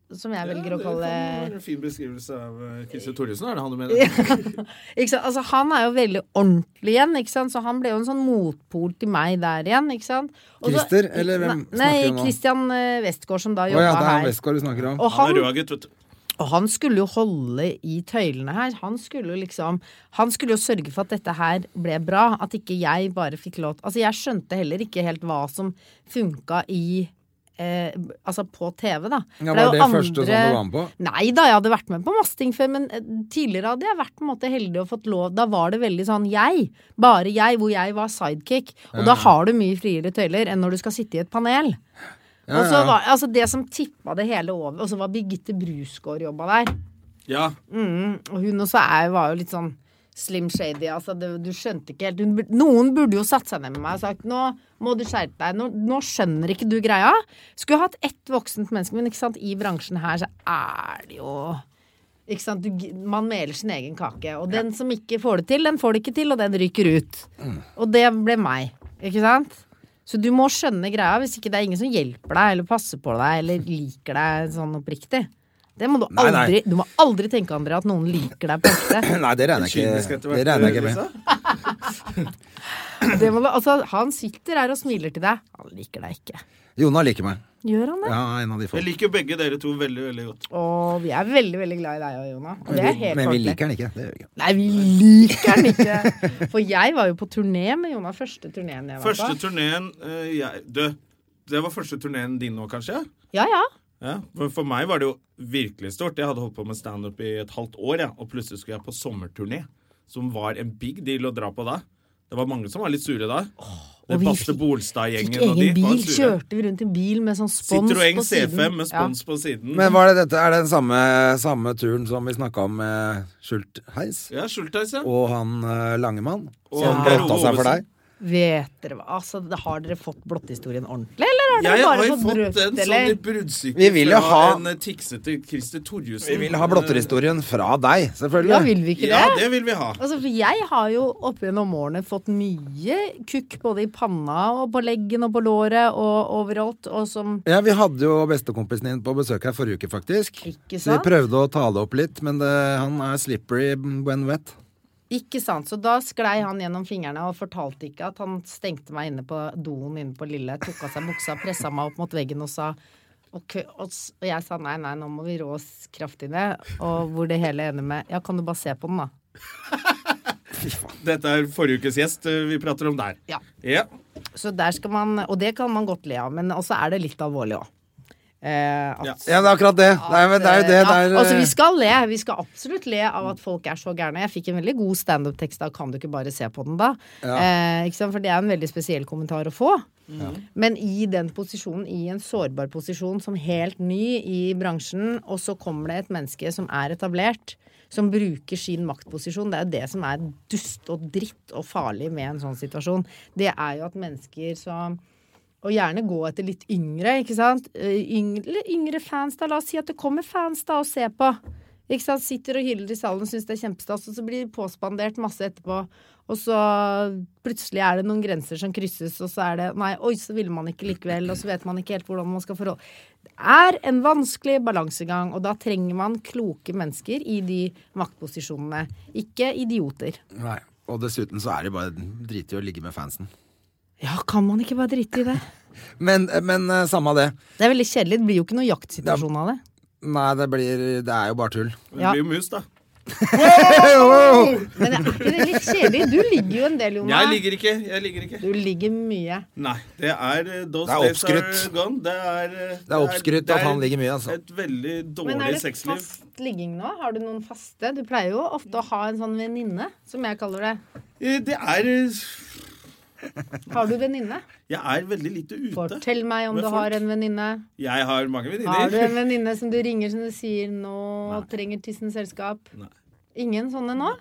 som jeg velger å kalle Det var en fin beskrivelse av eh, Christer Thoresen, er det han du mener? ikke sant? Altså, han er jo veldig ordentlig igjen, ikke sant? så han ble jo en sånn motpol til meg der igjen. Ikke sant? Og så- Christer, eller hvem Nei, snakker vi om nei, nå? Christian eh, Westgård, som da Å jobba ja, det er her. Westgård du snakker om. Og Han han, er rød gutt, vet du. og han skulle jo holde i tøylene her. Han skulle jo liksom Han skulle jo sørge for at dette her ble bra. At ikke jeg bare fikk lov Altså, jeg skjønte heller ikke helt hva som funka i eh, Altså på TV, da. Ja, For var er det jo første sånn du var med på? Nei da, jeg hadde vært med på masse ting før, men eh, tidligere hadde jeg vært på en måte heldig og fått lov. Da var det veldig sånn jeg, bare jeg, hvor jeg var sidekick. Og da har du mye friere tøyler enn når du skal sitte i et panel. Og så ja. var, altså Det som tippa det hele over, og så var Birgitte Brusgaard jobba der. Ja. Og hun også er, var jo litt sånn Slim Shady, altså. Det, du skjønte ikke helt hun, bur- Noen burde jo satt seg ned med meg og sagt 'nå må du skjerpe deg', nå, 'nå skjønner ikke du greia'. Skulle hatt ett voksent menneske, men ikke sant, i bransjen her så er det jo ikke sant? Du, g- man meler sin egen kake. Og den som ikke får det til, den får det ikke til, og den ryker ut. Mm. Og det ble meg. Ikke sant? Så du må skjønne greia, Mm. hvis ikke det er ingen som hjelper deg, eller passer på deg, eller liker deg sånn oppriktig. Det må du Nei, nei. aldri Du må aldri tenke, André, at noen liker deg på ekte. Nei, det regner jeg Kynisk ikke, etter det hvert, regner jeg ikke med. Lisa. Det må du, altså, han sitter her og smiler til deg. Han liker deg ikke. Jonna liker meg. Gjør han det? Ja, en av de få. Jeg liker jo begge dere to veldig veldig godt. Og vi er veldig, veldig glad i deg og Jonah. Og det er helt Men vi ordentlig. liker den ikke. Det gjør vi ikke. Nei, vi liker den ikke. For jeg var jo på turné med Jonah. Første turnéen jeg var Første på. turneen eh, jeg Du, det var første turneen din nå, kanskje? Ja, ja. Ja, for, for meg var det jo virkelig stort. Jeg hadde holdt på med standup i et halvt år, ja, og plutselig skulle jeg på sommerturné, som var en big deal å dra på da. Det var mange som var litt sure da. og det vi Baste fikk- Fikk Bolstad-gjengen og de egen var bil. sure. Kjørte vi rundt i en bil med sånn spons Citroën på siden. C5 E med spons på siden. Men var det dette, er det den samme, samme turen som vi snakka om med Skjult Heis? Ja, Schultheis, ja. Og han eh, Langemann? Og Som han blotta Ove seg for Ovesen. deg? Ja. Vet dere hva, altså det- Har dere fått blottehistorien ordentlig, eller har dere Jeg har bare jo fått fått brutt, en sånn eller? i bruddstykke Vi vil jo fra ha- en eh, tiksete Christer Torjussen. Eh, Vi vil ha blotterhistorien fra deg, selvfølgelig. Ja, vil vi ikke Ja, det? det vil vi ha. Altså, for jeg har jo opp gjennom årene fått mye kukk både i panna og på leggen og på låret og overalt, og som Ja, Vi hadde jo bestekompisen din på besøk her forrige uke, faktisk. Ikke Så vi sant? prøvde å ta det opp litt, men det, han er slippery when wet. Ikke sant. Så da sklei han gjennom fingrene og fortalte ikke at han stengte meg inne på doen inne på Lille, tok av seg buksa, pressa meg opp mot veggen og sa og, kø- og, s- og jeg sa nei, nei, nå må vi rå oss kraftig ned. Og hvor det hele ender med Ja, kan du bare se på den, da? Dette er forrige ukes gjest eh, vi prater om der. Ja. Ja. Så der skal man Og det kan man godt le av, men også er det litt alvorlig òg. Eh, at- Ja. Ja, det er akkurat det. Det er, det er jo det. Ja, det er, altså, vi skal le. Vi skal absolutt le av at folk er så gærne. Jeg fikk en veldig god standup-tekst av 'Kan du ikke bare se på den', da. Eh, ikke sant? For det er en veldig spesiell kommentar å få. Men i den posisjonen, i en sårbar posisjon som helt ny i bransjen, og så kommer det et menneske som er etablert, som bruker sin maktposisjon. Det er jo det som er dust og dritt og farlig med en sånn situasjon. Det er jo at mennesker som og gjerne gå etter litt yngre, ikke sant? Eh, Yngre, yngre fans, da. La oss si at det kommer fans da og ser på. Ikke sant? Sitter og hyler i salen og syns det er kjempestas, og så blir de påspandert masse etterpå. Og så plutselig er det noen grenser som krysses, og så er det Nei, oi, så ville man ikke likevel, og så vet man ikke helt hvordan man skal forholde Det er en vanskelig balansegang, og da trenger man kloke mennesker i de maktposisjonene. Ikke idioter. Nei. Og dessuten så er det bare driti å ligge med fansen. Ja, kan man ikke bare drite i det? Men, men eh, samme av det. Det er veldig kjedelig. Det blir jo ikke noe jaktsituasjon av det. Nei, det blir Det er jo bare tull. Det Ja. blir jo mus, da. [LAUGHS] Men det er ikke det litt kjedelig? Du ligger jo en del, Jonas. Jeg ligger ikke. Jeg ligger ikke. Du ligger mye. Nei. Det er eh, Those Det er days oppskrytt. are gone. Det er, eh, Det er oppskrytt det er at han ligger mye, altså. Et veldig Men dårlig er det sexliv. fast ligging nå? Har du noen faste? Du pleier jo ofte å ha en sånn venninne, som jeg kaller det. Eh, Det er eh, Har du venninne? Jeg er veldig lite ute. Fortell meg om Med du har folk. en venninne. Jeg har mange Har du venninner. en venninne som du ringer som du sier 'nå trenger tissen selskap'? Nei. Ingen sånne nå?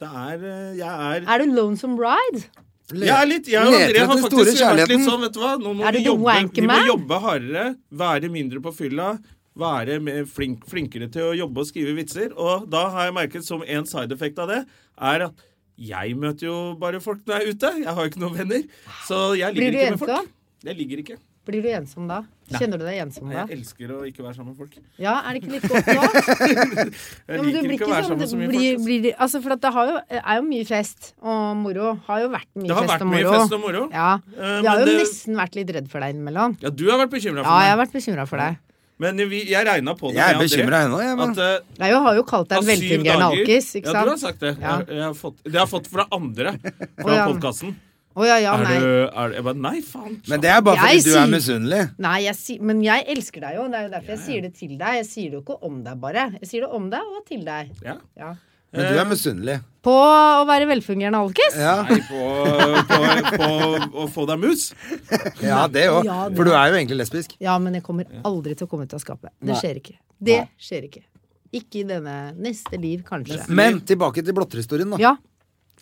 Det er eh, Jeg er Er du lonesome bride? jeg er litt, jeg og Leter André har etter den faktisk store vært litt kjærligheten. sånn, vet du hva. Nå må vi, Er du the jobbe, wanker vi må man? jobbe hardere, være mindre på fylla, være mer flink, flinkere til å jobbe og skrive vitser. Og da har jeg merket som en side effect av det, er at jeg møter jo bare folk når jeg er ute. Jeg har jo ikke noen venner. Så jeg Blir ligger du ikke med ensom? folk. Jeg ligger ikke. Blir du ensom da? Kjenner du deg ensom da? Jeg elsker å ikke være sammen med folk. Ja, er det ikke litt godt nå? Jeg Ja, men du liker blir ikke ikke å være sånn, sammen med så mye blir, folk. altså. blir, det- altså, for at det har jo, er jo mye fest og moro. Har jo vært mye Det har fest vært og mye moro. fest og moro. Ja. Eh, Vi har men jo det- nesten vært litt redd for deg innimellom. Ja, du har vært bekymra for Ja, jeg har meg. vært bekymra for deg. Men vi, jeg regna på det. Jeg er med André, bekymra ennå, jeg. Men. At eh, Nei, Jeg har jo kalt deg av en syv velfungerende dager- alkis, Ja, ikke du har sant? sagt det. Ja. Jeg, jeg har fått, det har jeg fått fra andre fra Å, ja. podkasten. Å ja, ja, er nei. du er, du- Jeg bare Nei, faen. Men det er bare fordi Jeg du er sier- misunnelig. Nei, jeg si, men jeg elsker deg jo. Det er jo derfor jeg sier det til deg. Jeg sier det jo ikke om deg, bare. Jeg sier det om deg og til deg. Ja. Ja. Men du er misunnelig. På å være velfungerende alkis? Ja, Nei, på, på, på å få deg mus. ja det òg. Ja, det- For du er jo egentlig lesbisk. Ja, men jeg kommer aldri til å komme ut av skapet. Det Nei. skjer ikke. Det skjer ikke. Ikke i denne. Neste liv, [LAUGHS] kanskje. Men tilbake til blotterhistorien, da. Ja.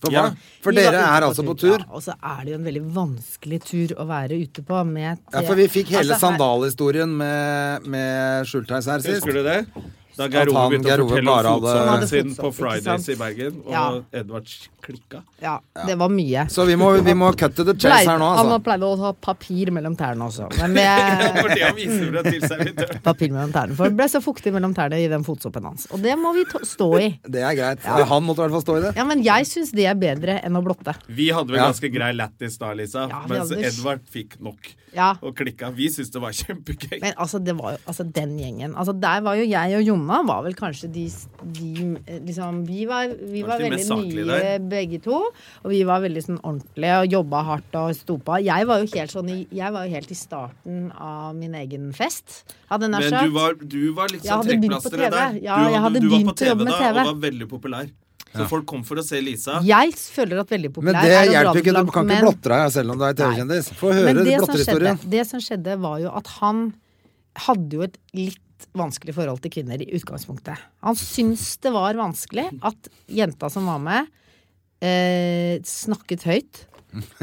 For, Ja. hva? for Vi var dere ute er på altså på Ja, tur. og så er det jo en veldig vanskelig tur å være ute på med Ja, for vi fikk hele Altså, her- sandalhistorien med, med Schultheis her sist. Husker du det? Da At Geir Ove han- begynte Geir å Ove fortelle bare om hadde- Han hadde fotsolen sin fotsopp, på ikke Fridays sant? i Bergen, og Ja. Edvard klikka. Ja, det var mye. Så vi må, vi må cut to the chase her nå, Pleide- altså. Han pleide å ha papir mellom tærne også. [LAUGHS] Men det, For det han viser fra til servitøren. papir mellom tærne, for det ble så fuktig mellom tærne i den fotsoppen hans. Og det må vi to- stå i. Det er greit. Han måtte i hvert fall stå i det. Ja, men jeg syns det er bedre enn å blotte. Vi hadde vel Ja. ganske grei lættis da, Lisa, Ja, vi mens hadde- Edvard fikk nok Ja. og klikka. Vi syntes det var kjempegøy. Men altså, det var jo, altså, den gjengen altså, Der var jo jeg og Jonna var vel kanskje de, de eh, liksom, Vi var, vi Kanskje var de veldig mest saklige der. nye begge to. Og vi var veldig sånn ordentlige og jobba hardt og sto på. Jeg var jo helt sånn i, Jeg var jo helt i starten av min egen fest. Hadde nær Men sagt. du var, du var litt Jeg sånn hadde begynt på trekkplasteret TV. der. Ja, du, jeg hadde du, var på begynt å TV jobbe med da TV. og var veldig populær. Så folk kom for å se Lisa. Jeg føler at veldig Men populær det er å dra hjelper det ikke. Du langt, kan ikke men- blotte deg selv om du er TV-kjendis. Få høre Men det som, skjedde, blotterhistorien. det som skjedde, var jo at han hadde jo et litt vanskelig forhold til kvinner i utgangspunktet. Han syntes det var vanskelig at jenta som var med, eh, snakket høyt.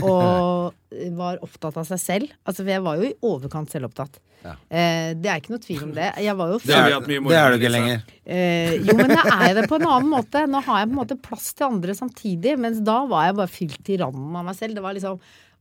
Og var opptatt av seg selv. Altså, for jeg var jo i overkant selvopptatt. Eh, det er ikke noe tvil om det. Jeg var jo Det har vi hatt Det mye liksom. moro er du med, ikke Lisa. lenger. Eh, jo, men da er jeg det på en annen måte. Nå har jeg på en måte plass til andre samtidig, mens da var jeg bare fylt til randen av meg selv. Det var liksom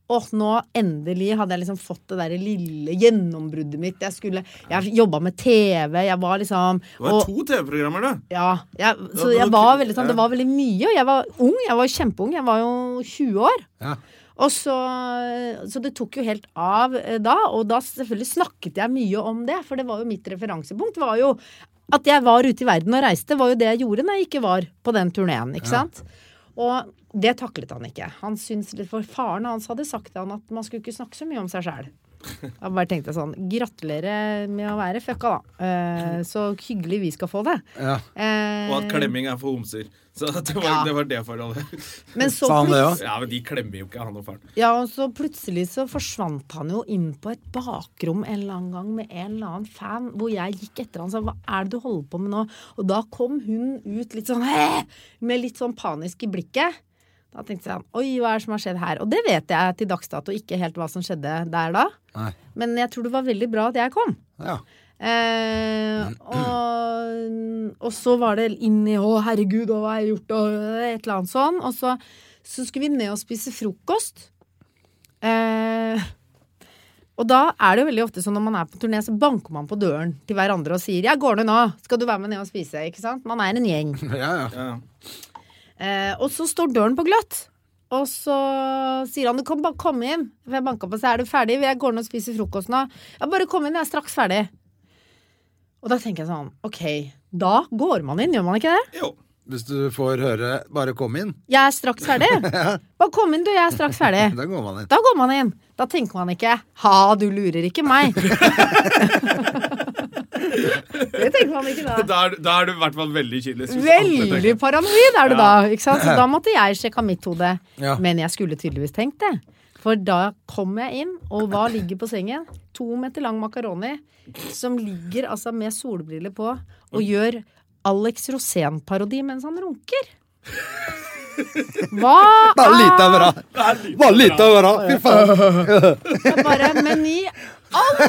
Åh, nå endelig hadde jeg liksom fått det derre lille gjennombruddet mitt. Jeg skulle Jeg jobba med TV, jeg var liksom Det var og- to TV-programmer, da. ja, jeg, så Ja, men- jeg var veldig sånn, det ja. var veldig mye, og jeg var ung, jeg var kjempeung, jeg var jo 20 år. Ja. Og så, så det tok jo helt av eh, da, og da selvfølgelig snakket jeg mye om det, for det var jo mitt referansepunkt, var jo at jeg var ute i verden og reiste, var jo det jeg gjorde når jeg ikke var på den turnéen, ikke sant? Og det taklet han ikke. Han syntes litt for faren hans hadde sagt til han at man skulle ikke snakke så mye om seg sjæl. Da bare tenkte jeg sånn Gratulerer med å være fucka, da. Eh, så hyggelig vi skal få det. Ja. Eh, Og at klemming er for homser. Så det var Ja. det, var det forholdet. Men så, Sa han det plut- òg? [LAUGHS] Ja, men de klemmer jo ikke, han og faren. ja, og så plutselig så forsvant han jo inn på et bakrom en eller annen gang med en eller annen fan, hvor jeg gikk etter han og sa hva er det du holder på med nå? Og da kom hun ut litt sånn «Hæ?» med litt sånn panisk i blikket. Da tenkte jeg oi, hva er det som har skjedd her? Og det vet jeg til dags dato ikke helt hva som skjedde der da. Nei. Men jeg tror det var veldig bra at jeg kom. Ja. [LAUGHS] Eh, og, og så var det inn i 'Å, herregud, og hva har jeg gjort?' og et eller annet sånn. Og så, så skulle vi ned og spise frokost. Eh, og da er det jo veldig ofte sånn når man er på turné, så banker man på døren til hverandre og sier 'Jeg går ned nå. Skal du være med ned og spise?' Ikke sant? Man er en gjeng. Ja, ja. Eh, og så står døren på gløtt. Og så sier han du kan bare komme inn. For jeg banka på seg. Er du ferdig? Jeg går ned og spiser frokost nå. Ja, bare kom inn, jeg er straks ferdig. Og da tenker jeg sånn, OK. Da går man inn, gjør man ikke det? Jo. Hvis du får høre 'bare kom inn', Jeg er [LAUGHS] straks ferdig. Bare kom inn, du. Jeg er straks ferdig. da går man inn. Da går man inn. Da tenker man ikke 'ha, du lurer ikke [LAUGHS] meg'. [LAUGHS] det tenker man ikke da. Da er, da er du i hvert fall veldig kynisk. hvis alle tenker- Veldig paranoid er du da, ikke sant? Så da måtte jeg sjekke av mitt hode. Ja. Men jeg skulle tydeligvis tenkt det. For da kom jeg inn, og hva ligger på sengen? To meter lang makaroni som ligger altså med solbriller på og gjør Alex Rosén-parodi mens han runker. Hva Bare lite av bra. Bare lite av bra. Fy faen. er bare Men i alle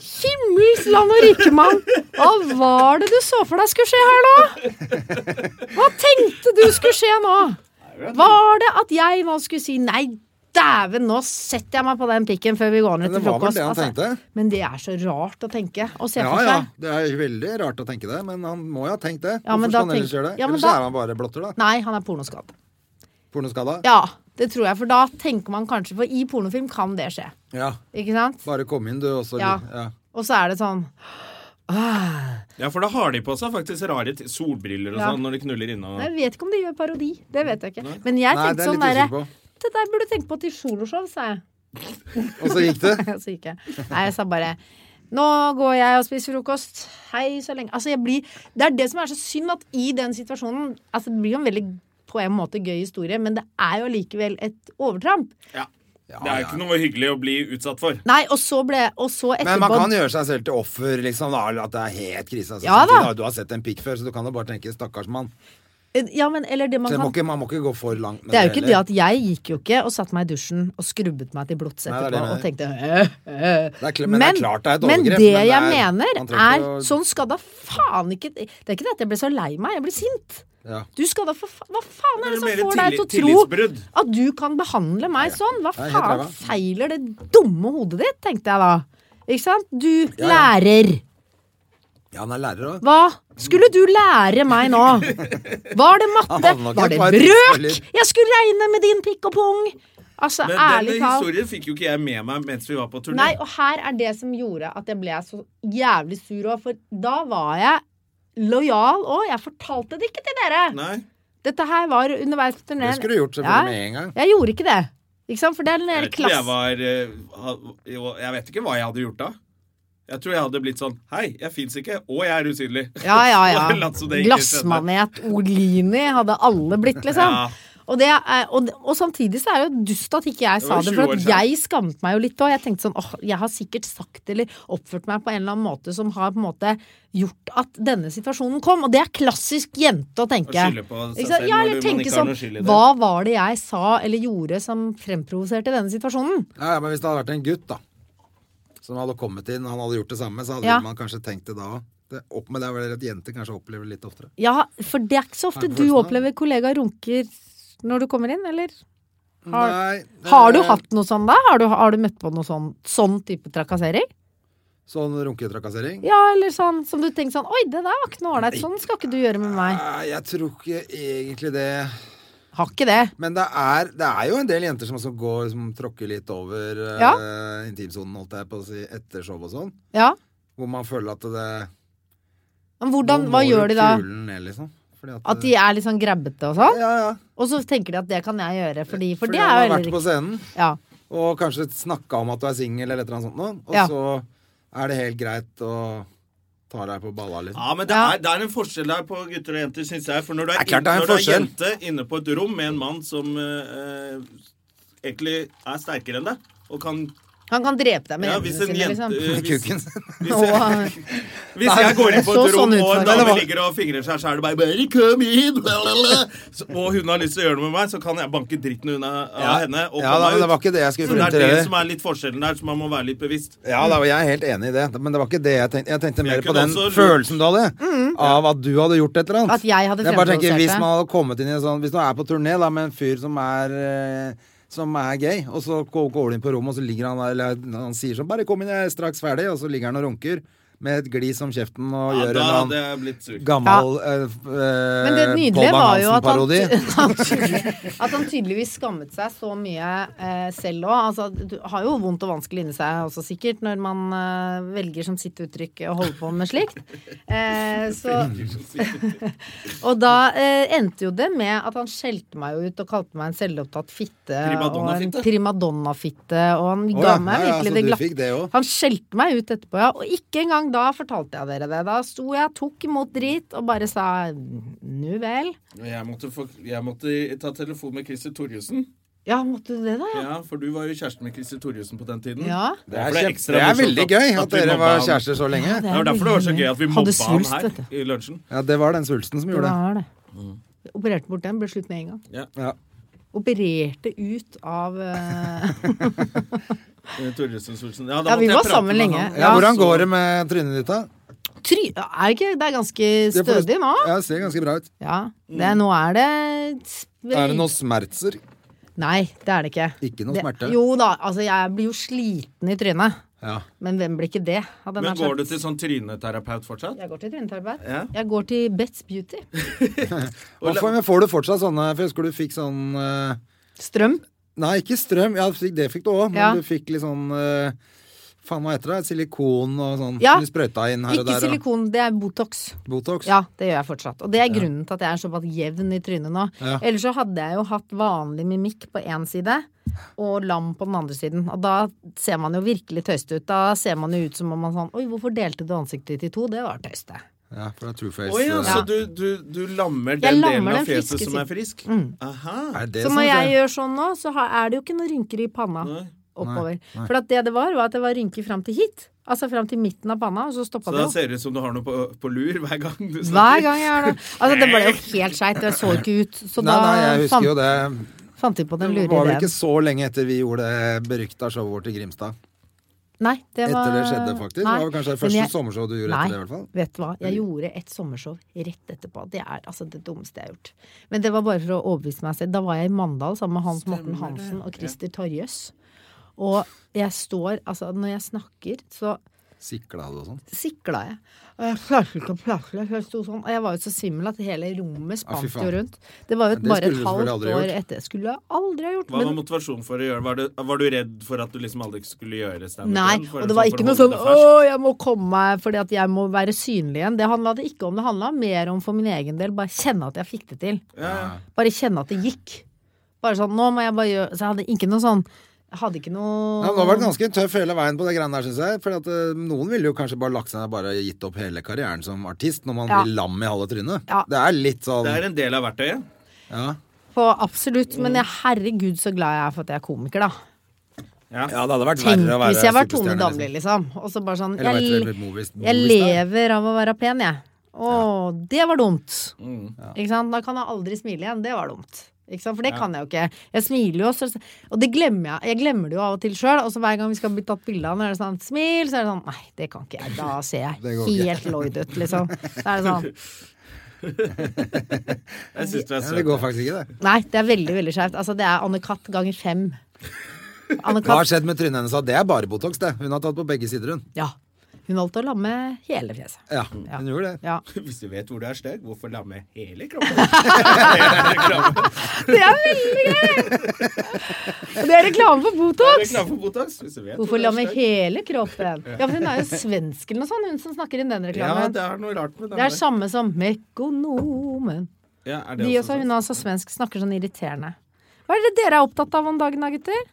himmels land og rike, mann! Hva var det du så for deg skulle skje her nå? Hva tenkte du skulle skje nå? Var det at jeg nå skulle si nei, dæven, nå setter jeg meg på den pikken før vi går ned Men det til var vel frokost? det Altså, han tenkte? men det er så rart å tenke og se Ja for ja, seg. det er veldig rart å tenke det, men han må jo ha tenkt det. Ja, men Hvorfor da skal han ellers tenk- gjøre det? Ja, men ellers da- er han bare blotter, da. Nei, han er pornoskadd. Pornoskada. Ja, det tror jeg, for da tenker man kanskje For i pornofilm kan det skje, Ja. ikke sant? Bare kom inn, du, og så Ja. ja. Og så er det sånn Ja, for da har de på seg faktisk rare t- solbriller og Ja. sånn når de knuller innom. Jeg vet ikke om de gjør parodi. Det vet jeg ikke. Men Nei, jeg tenkte det er litt sånn derre usikker på. Det der burde du tenke på til soloshow, sa jeg. Og så gikk det. [LAUGHS] Så gikk jeg. Nei, jeg sa bare nå går jeg og spiser frokost. Hei, så lenge. Altså, jeg blir Det er det som er så synd, at i den situasjonen Altså, det blir jo en veldig på en måte gøy historie, men det er jo allikevel et overtramp. Ja. Det er jo ikke noe hyggelig å bli utsatt for. Nei, og så ble Og så Men man etterpå kan gjøre seg selv til offer, liksom. Da, at det er helt krise. Altså, Ja, samtidig da. har Du har sett en pikk før, så du kan jo bare tenke 'stakkars mann'. Eh, Ja, men eller det man Så jeg kan må ikke, man må ikke gå for langt med Det er jo ikke det heller. at jeg gikk jo ikke og satte meg i dusjen og skrubbet meg til blods Nei, det er etterpå det og jeg tenkte øh, øh. Det er kl- men det er klart det er et men overgrep, det men det jeg er- mener, man trenger er ikke å- Sånn skal da faen ikke Det er ikke det at jeg ble så lei meg, jeg ble sint. Ja. Du skal da for faen Hva faen er det Det er mer som får deg tillit- til å tro tillitsbrudd. at du kan behandle meg sånn? Hva helt faen ræva. feiler det dumme hodet ditt, tenkte jeg da. Ikke sant? Du lærer. Ja, han er lærer òg. Hva skulle du lære meg nå? Var det matte? Han var nok Var det et par brøk? tilfeller. Jeg skulle regne med din pikk og pung! Altså, Men ærlig den talt. historien fikk jo ikke jeg med meg mens vi var på turné. Nei, og her er det som gjorde at jeg ble så jævlig sur òg, for da var jeg lojal òg. Jeg fortalte det ikke til dere. Nei. Dette her var underveis på turneen. Det skulle du gjort selvfølgelig med en gang. Jeg gjorde ikke det. Ikke sant? For det er den der Jeg tror jeg klassen var eh, ha- jo, Jeg vet ikke hva jeg hadde gjort da. Jeg tror jeg hadde blitt sånn Hei, jeg fins ikke, og jeg er usynlig. Ja, ja, Bare ja. [LAUGHS] latt som det ikke skjedde. Glassmanet, Olini hadde alle blitt, liksom. Ja. Og, det er, og, og samtidig så er det jo dust at ikke jeg Det sa var det, 20 for år at siden. jeg skammet meg jo litt òg. Jeg tenkte sånn åh, jeg har sikkert sagt eller oppført meg på en eller annen måte som har på en måte gjort at denne situasjonen kom, og det er klassisk jente å tenke. Å skylde på seg Ikke sant? selv Ja, når eller du- man tenke ikke har sånn noe skyld i det. hva var det jeg sa eller gjorde som fremprovoserte denne situasjonen? Ja, ja, men hvis det hadde vært en gutt, da, som hadde kommet inn, han hadde gjort det samme, så hadde Ja. man kanskje tenkt det da òg. Opp med det er vel at jenter kanskje opplever det litt oftere. Ja, for det er ikke så Nei, ofte på du følelsen av- opplever kollegaer runker når du kommer inn, eller? Har- Nei, det- Har du hatt noe sånn da? Har du, har du møtt på noe sånn, sånn type trakassering? Sånn runketrakassering? Ja, eller sånn som du tenker sånn Oi, det der var ikke noe ålreit. Sånn skal ikke du gjøre med meg. Nei, jeg tror ikke egentlig det. Har ikke det. Men det er, det er jo en del jenter som også går som tråkker litt over eh, Ja. intimsonen, holdt jeg på å si, etter show og sånn. Ja. Hvor man føler at det Men hvordan, nå hva må du gjør de da? Kulen ned, liksom. Fordi At de er litt sånn grabbete og sånn? Ja, ja. Og så tenker de at det kan jeg gjøre, fordi, for Fordi det man er jo har vært heller på ikke scenen ja. og kanskje snakka om at du er singel eller et eller annet sånt noe, og Ja. så er det helt greit å ta deg på balla, liksom. Ja, men det Ja. er, det er en forskjell der på gutter og jenter, syns jeg. For når du er, Det er klart det er en inn- når du er forskjell. jente inne på et rom med en mann som eh, eh, egentlig er sterkere enn deg, og kan Han kan drepe deg med ja, hvis hendene en jente sine, liksom. eh, hvis, Kuken sin. hvis, jeg, [LAUGHS] Og, hvis jeg går inn på Så et rom, sånn og ut for en deg. dame ligger og fingrer seg, så er det bare «Bare kom inn!» Så- [LAUGHS] Og hun har lyst til å gjøre noe med meg, så kan jeg banke dritten unna av Ja. henne. Og Ja, komme da, meg men det ut. var ikke det jeg skulle Så det frem er til. det heller. som er litt forskjellen der, så man må være litt bevisst. Ja, da, jeg er helt enig i det, men det var ikke det jeg tenkte. Jeg tenkte mer Jeg på den kunne også lurt- følelsen du hadde, av at du hadde gjort et eller annet. Mm. At jeg hadde bare tenker, fremprovosert Hvis det. man hadde kommet inn i en sånn Hvis man er på turné da, med en fyr som er eh, som er gay, og så gå- går du inn på rommet, og så ligger han der, eller han sier sånn 'Bare kom inn, jeg er straks ferdig', og så ligger han og runker med et glis om kjeften og Ja, gjør en da eller hadde annen jeg blitt sur. gammel eh, f- eh, men det Paul Bang nydelige var jo at han, Hansen-parodi. [LAUGHS] han tydelig- at han tydeligvis skammet seg så mye eh, selv òg. Altså, du har jo vondt og vanskelig inni seg også, sikkert, når man eh, velger som sitt uttrykk å holde på med slikt. Eh, så [LAUGHS] Og da eh, endte jo det med at han skjelte meg jo ut og kalte meg en selvopptatt fitte. Og en Primadonna-fitte. primadonna-fitte. Og han Å, ga ja. Ja, meg ja, virkelig så det du glatt. fikk det også? han skjelte meg ut etterpå, ja. Og ikke engang da fortalte jeg dere det. Da sto jeg, tok imot drit og bare sa nu vel. Jeg måtte, få, jeg måtte ta telefon med Christer Torjussen. Ja, måtte du det, da? Ja. Ja, for du var jo kjæresten med Christer Torjussen på den tiden. ja. Det er, Derfor kjempe- ekstra det er morsomt veldig gøy at vi dere mobba var han. kjærester så lenge. Det var derfor det var så gøy at vi Hadde mobba svulst, han vet du. her i lunsjen. Ja, det var den svulsten som Det gjorde det. var det. Opererte bort den, ble slutt med en gang. Ja. Opererte ut av eh, Eh, Torjussen-svulsten. Ja, da Ja, måtte jeg vi var prate sammen med lenge. han. Ja, Ja, hvordan går det med trynet ditt, da? Try... Er ikke Det er ganske Det får- stødig nå. Ja, det ser ganske bra ut. Ja. Det, nå er det Er det noen smertser? Nei, det er det ikke. Ikke noe det, smerte? Jo da, altså jeg blir jo sliten i trynet. Ja. Men hvem blir ikke det? Hadde jeg Men nær sagt. går du til sånn tryneterapeut fortsatt? Jeg går til tryneterapeut. Ja. Jeg går til Betts Beauty. Og får, men får du fortsatt sånne For jeg husker du fikk sånn eh, Strøm. Nei, ikke strøm. Ja, fikk- det fikk du òg, men Ja. du fikk litt sånn eh, Faen, hva heter det? Silikon og sånn. Ja. som Du sprøyta inn her og Ikke der. silikon, det er Botox. Og Botox. Ja, det gjør jeg fortsatt. Og det er grunnen til at jeg er såpass jevn i trynet nå. Ja. Ellers så hadde jeg jo hatt vanlig mimikk på én side og lam på den andre siden. Og da ser man jo virkelig tøyste ut. Da ser man jo ut som om man sånn Oi, hvorfor delte du ansiktet ditt i to? Det var tøyste. Ja, for det er true Å face. ja, det så der. du, du, du lammer Jeg den lammer delen av den fjeset friske som Mm. siden. er frisk? Aha. Er det Så som når jeg skjer? gjør sånn nå, så har- er det jo ikke noen rynker i panna. oppover. nei. For at det det var, var at det var rynker fram til hit. Altså fram til midten av panna, og så stoppa Så det da opp. ser det ut som du har noe på, på lur hver gang du snakker. Hver gang jeg har det. Altså, det ble jo helt skeit, det så ikke ut. [LAUGHS] Nei, Så sånn da nei, jeg husker jo fant, det. fant de på den Det lure var vel ikke ideen. så lenge etter vi gjorde det berykta showet vårt i Grimstad. Nei, det var Etter det skjedde, faktisk. Nei. Det var kanskje det Men første jeg- sommershow du gjorde Nei, etter det, i hvert fall. vet du hva. Jeg gjorde et sommershow rett etterpå. Det er altså det dummeste jeg har gjort. Men det var bare for å overbevise meg selv. Da var jeg i Mandal sammen med Hans Morten Hansen og Christer Torjøs. Og jeg står Altså, når jeg snakker, så Sikla det og sånn. sikla jeg. Og jeg klarte ikke å prate. Jeg sto sånn. Og jeg var jo så svimmel at hele rommet Ah, fy spant faen. jo rundt. Det var jo Ja, et, det skulle bare et du selvfølgelig halvt aldri år gjort. etter. Skulle jeg aldri ha gjort. Hva var Men motivasjonen for å gjøre? Var du, var du redd for at du liksom aldri skulle gjøre standup? Nei, igjen? For og å- det var for å ikke noe holde sånn det 'Å, ferskt? jeg må komme meg fordi at jeg må være synlig igjen'. Det handla det ikke om. Det handla mer om for min egen del. Bare kjenne at jeg fikk det til. Bare kjenne at det gikk. Bare sånn 'Nå må jeg bare gjøre' Så jeg hadde ikke noe sånn Jeg hadde ikke noe Ja, men det har vært ganske tøff hele veien på det greiene der, syns jeg. For at, eh, noen ville jo kanskje bare lagt seg ned og bare gitt opp hele karrieren som artist når man Ja. blir lam i halve trynet. Ja. Det er litt sånn Det er en del av verktøyet. ja. på Absolutt. Men jeg, herregud så glad jeg er for at jeg er komiker, da. ja, det hadde vært Tenk verre å være hvis jeg var Tone superstjerne, Damli, liksom. Og så bare sånn Eller hva heter jeg, det? Movies- jeg Movies, da? lever av å være pen, jeg. Å, det var dumt. Mm. Ikke sant? Da kan jeg aldri smile igjen. Det var dumt. Ikke sant? For det kan jeg jo ikke. Jeg smiler jo, så, og det glemmer jeg. Jeg glemmer det jo av og til sjøl. Og så hver gang vi skal bli tatt bilde av, når det er sånn smil, så er det sånn Nei, det kan ikke jeg. Da [LAUGHS] ser Det jeg går ikke. helt Lloyd ut, liksom. Da er det sånn Jeg synes du Ja, er det søt. går faktisk ikke, det. Nei, det er veldig, veldig skjevt. Altså, det er Anne-Cath ganger fem. Hva har Anne-Cath skjedd med trynet hennes? da? Det er bare Botox, det. Hun har tatt på begge sider, hun. Ja. Hun holdt å lamme hele fjeset. Ja, Mm, Ja. hun gjorde det. [LAUGHS] Ja. Hvis du vet hvor du er stygg, hvorfor lamme hele [LAUGHS] kroppen? Hele kroppen. Det er veldig gøy! Og Det er reklame for Er det Botox! klar for Botox? Hvis du vet hvor Hvorfor du er lammer stygg. hele [LAUGHS] kroppen? Ja, for hun er jo svensk eller noe sånt, hun som snakker inn den Ja, reklamen. det er noe rart med den Det er der. samme som Mekonomen. Ja, er det De også, sånn? hun er altså svensk, snakker sånn irriterende. Hva er det dere er opptatt av om dagen da, gutter?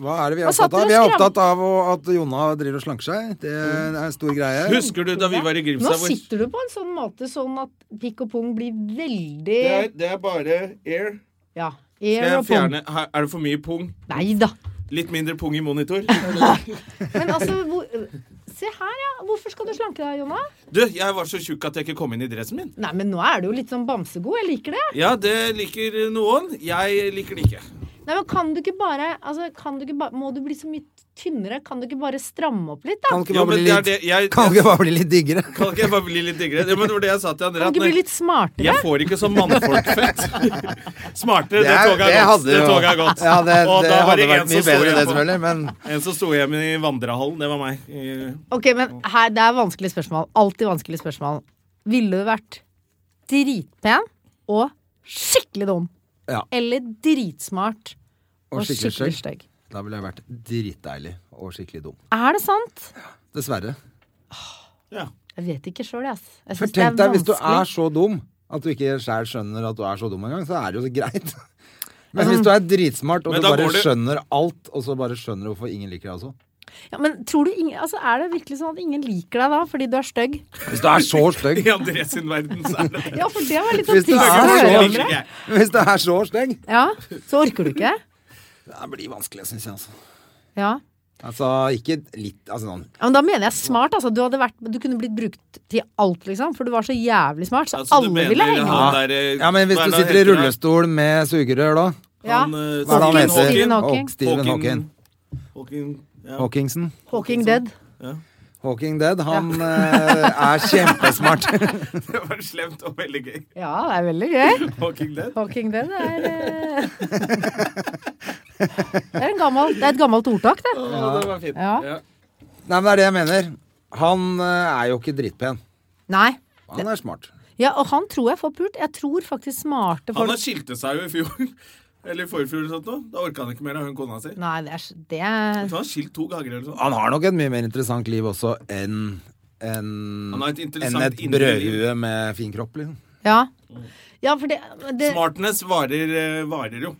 Hva er det vi er Hva satt opptatt av? Vi dere er og skram- opptatt av å- at Jonna driver og slanker seg. Det er en stor greie. Husker du da vi var i Nå Grimstad? hvor- sitter du på en sånn måte sånn at pikk og pung blir Det er, veldig det er bare air. Ja. Skal Air jeg og pung. fjerne her- Er det for mye pung? Nei da. Litt mindre pung i [LAUGHS] monitor? Men altså, hvor, se her, ja. Hvorfor skal du slanke deg, Jonna? Du, jeg var så tjukk at jeg ikke kom inn i dressen min. Nei, men nå er du jo litt sånn bamsegod. Jeg liker det. Ja, det liker noen. Jeg liker det ikke. Nei, men kan du ikke bare altså, kan du ikke ba, Må du bli så mye tynnere? Kan du ikke bare stramme opp litt, da? Kan du ikke Jo, bare men bli det er litt, det jeg, kan du ikke bare bli litt diggere? Kan ikke jeg bare bli litt diggere? Ja, men det var det jeg sa til André. Kan at du ikke bli når- litt smartere? Jeg får ikke [LAUGHS] sånn mannfolkfett. Smartere, det, er- toget er hadde godt. Det jo- toget er godt. Ja, det, Og det da var hadde det en vært som mye sto bedre, det igjen på- selvfølgelig. Men En som sto hjemme i vandrehallen, det var meg. Eh, Ok, men her, det er vanskelige spørsmål. Alltid vanskelige spørsmål. Ville du vært dritpen og skikkelig dum? Ja. Eller dritsmart og, Og skikkelig skikkelig stygg. stygg? Da ville jeg vært dritdeilig og skikkelig dum. Er det sant? Dessverre. Jeg vet ikke sjøl, jeg. ass. Jeg For synes det er tenk deg, hvis du er vanskelig. så dum at du ikke sjæl skjønner at du er så dum engang, så er det jo så greit. [LAUGHS] Men hvis du er dritsmart og Men du da bare går det- skjønner alt, og så bare skjønner du hvorfor ingen liker deg også Ja, men tror du ingen, altså, er det virkelig sånn at ingen liker deg da fordi du er stygg? [LAUGHS] Hvis du er så stygg I [LAUGHS] André sin verden, så er det Ja, for det var litt sånn Hvis du trist å er høre. så- André. Jeg- Hvis du er så stygg Ja, så orker du ikke? Det blir vanskelig, syns jeg, altså. Ja. Altså, ikke litt altså, sånn. Ja, men da mener jeg smart, altså. Du, hadde vært, du kunne blitt brukt til alt, liksom. For du var så jævlig smart, så Altså, du alle mener ville henge med. han der eh, Ja, men hvis hva du er det han sitter i heter, da? rullestol med sugerør, da Ja. Han, eh, Hva er det han Hawking, heter? Stephen Hawking. Hawk- Stephen Hawking. Hawking. Hawking, ja. Hawkingsen. Hawking dead. Hawking Dead. Han eh, er kjempesmart. [LAUGHS] [LAUGHS] Det var slemt og veldig gøy. Ja, det er veldig gøy. Hawking dead. Hawking dead er eh, det, er en gammel, det er et gammelt ordtak, det. Å, det var fint. Ja. Ja. Nei, men det er det jeg mener. Han eh, er jo ikke drittpen. Nei. Han er smart. Ja, og han tror jeg får pult. Jeg tror faktisk smarte Han folk har skilte seg jo i fjor. [LAUGHS] Eller i forfjor eller sånt noe. Da orka han ikke mer av hun kona si. Nei, det er, s- det er Så han har skilt to ganger eller sånn. Han har nok et mye mer interessant liv også enn enn- Han har et enn interessant et indre liv. brødhue med fin kropp, liksom. Ja. Ja, for det, det Smartness varer, eh, varer jo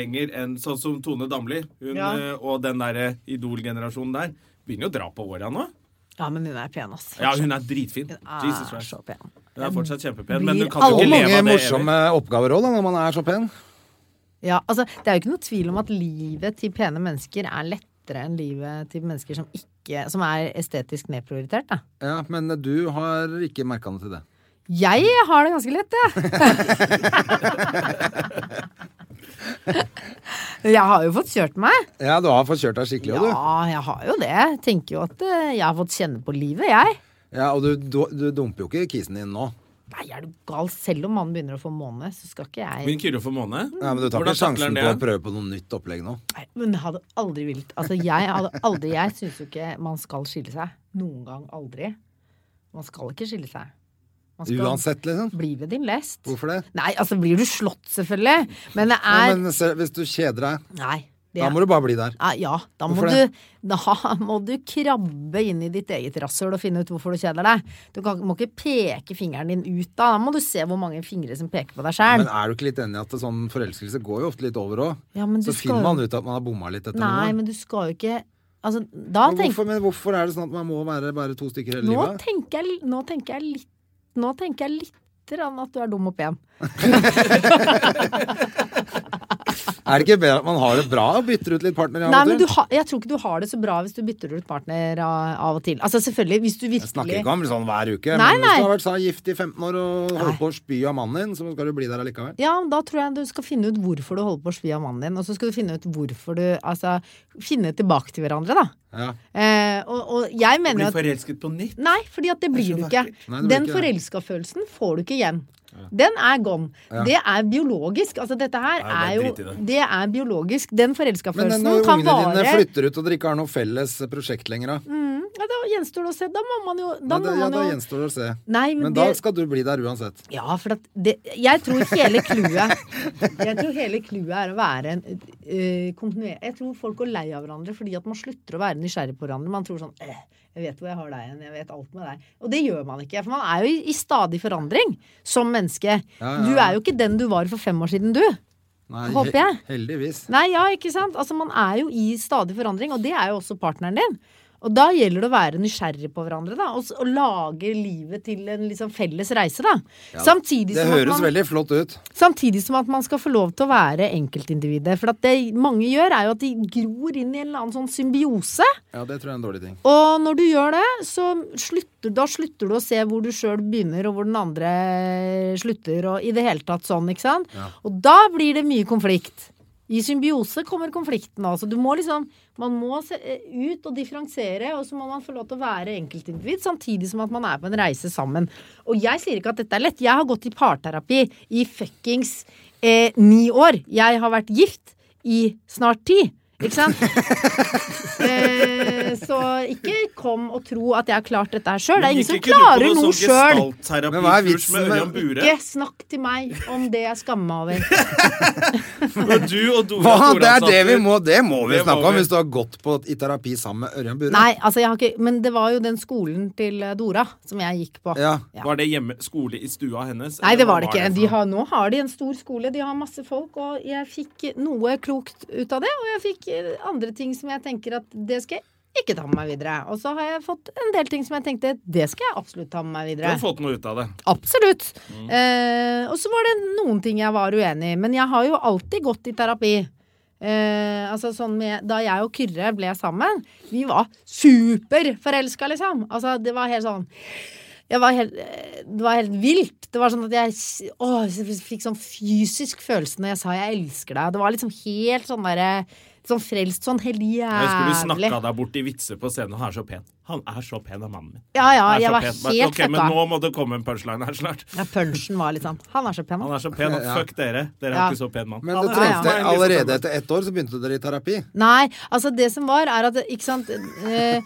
lenger enn sånn som Tone Damli. Hun Ja. eh, og den derre Idol-generasjonen der begynner jo å dra på åra nå. Ja, men hun er pen, ass. Ja, hun er dritfin. Ah, Jesus Christ. så pen. Hun er fortsatt kjempepen, Blir men du kan jo alle Og ikke leve mange av det morsomme oppgaver òg, når man er så pen. Ja, altså, det er jo ikke noe tvil om at livet til pene mennesker er lettere lettere enn livet til mennesker som, ikke, som er estetisk nedprioritert. Da. Ja, men du har ikke merka noe til det. Jeg har det ganske lett, jeg. [LAUGHS] jeg har jo fått kjørt meg. Ja, du har fått kjørt deg skikkelig, og du. Ja, jeg har jo det. Tenker jo at eh, jeg har fått kjenne på livet, jeg. Ja, og du, du, du dumper jo ikke kisen din nå. Nei, er du gal? Selv om mannen begynner å få måne, så skal ikke jeg Min Kyrre for måned? Ja, men du tar Hvordan ikke sjansen takler på å han det? prøve på noe nytt opplegg nå. Nei, men jeg hadde aldri villet Altså, jeg hadde aldri Jeg syns jo ikke man skal skille seg. Noen gang. Aldri. Man skal ikke skille seg. Man skal Uansett, liksom. bli ved din lest. Hvorfor det? Nei, altså blir du slått, selvfølgelig. Men det Ja, er men se, hvis du kjeder deg, Nei. Det, da må du bare bli der. Ja, ja, da må, Hvorfor det? du, da må du krabbe inn i ditt eget rasshøl og finne ut hvorfor du kjeder deg. Du kan, må ikke peke fingeren din ut da. Da må du se hvor mange fingre som peker på deg sjæl. Men er du ikke litt enig i at sånn forelskelse går jo ofte litt over òg? Ja, men du så skal finner jo- man ut at man har bomma litt etter Nei, noen år. men du skal jo ikke Altså, da Men tenker hvorfor, men hvorfor er det sånn at man må være bare to stykker hele Nå livet? tenker jeg, nå tenker jeg litt Nå tenker jeg litt grann at du er dum og pen. Er det ikke bedre at man har det bra og bytter ut litt partner? av Nei, og men til? du ha, jeg tror ikke du har det så bra hvis du bytter ut partner av, av og til. Altså selvfølgelig, hvis du Jeg snakker virkelig ikke om sånn hver uke, Nei, men hvis nei. du har vært sånn gift i 15 år og holdt på å spy av mannen din, så skal du bli der allikevel. ja, da tror jeg du skal finne ut hvorfor du holder på å svi av mannen din. Og så skal du finne ut hvorfor du Altså, finne tilbake til hverandre, da. Ja. Eh, og, og jeg mener Bli jo at forelsket på nytt? Nei, fordi at det blir du ikke. Nei, det blir ikke Den det. forelska følelsen får du ikke igjen. Den er gone. Det er biologisk. Altså, dette her Nei, er bare jo drit i det. Det er biologisk. Den forelska Men følelsen når kan ungene vare dine flytter ut og dere ikke har noe felles prosjekt lenger, da? ja, Da gjenstår det å se. Da må man jo Nei, Da det, må ja, man da jo gjenstår det å se. Nei, men men da det- skal du bli der uansett. Ja, for at det, Jeg tror hele [LAUGHS] clouet Jeg tror hele clouet er å være en eh, kontinuer... Jeg tror folk går lei av hverandre fordi at man slutter å være nysgjerrig på hverandre. Man tror sånn eh, Jeg vet hvor jeg har deg hen. Jeg vet alt med deg. Og det gjør man ikke. For man er jo i, i stadig forandring som menneske. ja, Du ja. er jo ikke den du var for fem år siden, du. Nei, Håper jeg. Heldigvis. Nei, ja, ikke sant? Altså, man er jo i stadig forandring, og det er jo også partneren din. Og da gjelder det å være nysgjerrig på hverandre, da. Og, s- og lage livet til en liksom felles reise, da. samtidig, Det som at høres man, veldig flott ut. samtidig som at man skal få lov til å være enkeltindividet. For at det mange gjør, er jo at de gror inn i en eller annen sånn symbiose. Ja, det tror jeg er en dårlig ting. Og når du gjør det, så slutter, da slutter du å se hvor du sjøl begynner, og hvor den andre slutter, og i det hele tatt sånn, ikke sant? Og da blir det mye konflikt. I symbiose kommer konflikten, altså. Du må liksom Man må se eh, ut og differensiere, og så må man få lov til å være enkeltindivid, samtidig som at man er på en reise sammen. Og jeg sier ikke at dette er lett. Jeg har gått i parterapi i fuckings eh, ni år. Jeg har vært gift i snart ti. Ikke sant? Eh, så ikke kom og tro at jeg har klart dette her sjøl. Det er ingen som klarer noe sjøl. Men hva er sånn Gestaltterapikurs vitsen med med- Ørjan Bure. Ikke snakk til meg om det jeg skammer meg over. Og du og Dora Hva? Det er Thoralsdatter. det vi må, det må vi Det må snakke om vi. hvis du har gått på, i terapi sammen med Ørjan Bure. Nei, altså jeg har ikke Men det var jo den skolen til eh, Dora som jeg gikk på. Ja. Ja. Var det hjemme, skole i stua hennes? Nei, eller det hva var det ikke. for De noe? har, nå har de en stor skole, de har masse folk, og jeg fikk noe klokt ut av det. Og jeg fikk eh, andre ting som jeg tenker at det skal jeg ikke ta med meg videre. Og så har jeg fått en del ting som jeg tenkte det skal jeg absolutt ta med meg Du videre. har fått noe ut av det. Absolutt. Mm. Eh, og så var det noen ting jeg var uenig i, men jeg har jo alltid gått i terapi. Eh, altså sånn med, Da jeg og Kyrre ble sammen, vi var superforelska, liksom. Altså, det var helt sånn jeg var helt, eh, Det var helt vilt. Det var sånn at jeg s- å, jeg fikk sånn fysisk følelse når jeg sa jeg elsker deg. Det var liksom helt sånn derre Sånn frelst, sånn helt Jeg husker du jævlig. snakka deg bort i vitser på scenen. Han er så pen. Han er så pen av mannen min. Ja, ja, Han er jeg så var pen. helt Men- ok, fucka. Men nå må det komme en punchline her snart. Ja, punchen var litt sånn Han er så pen, Han han. er så pen, og fuck dere. Dere Ja. er ikke så pen mann. Men Han du er- trengte Nei, liksom- allerede etter ett år så begynte dere i terapi. Nei, altså det som var, er at Ikke sant. Eh,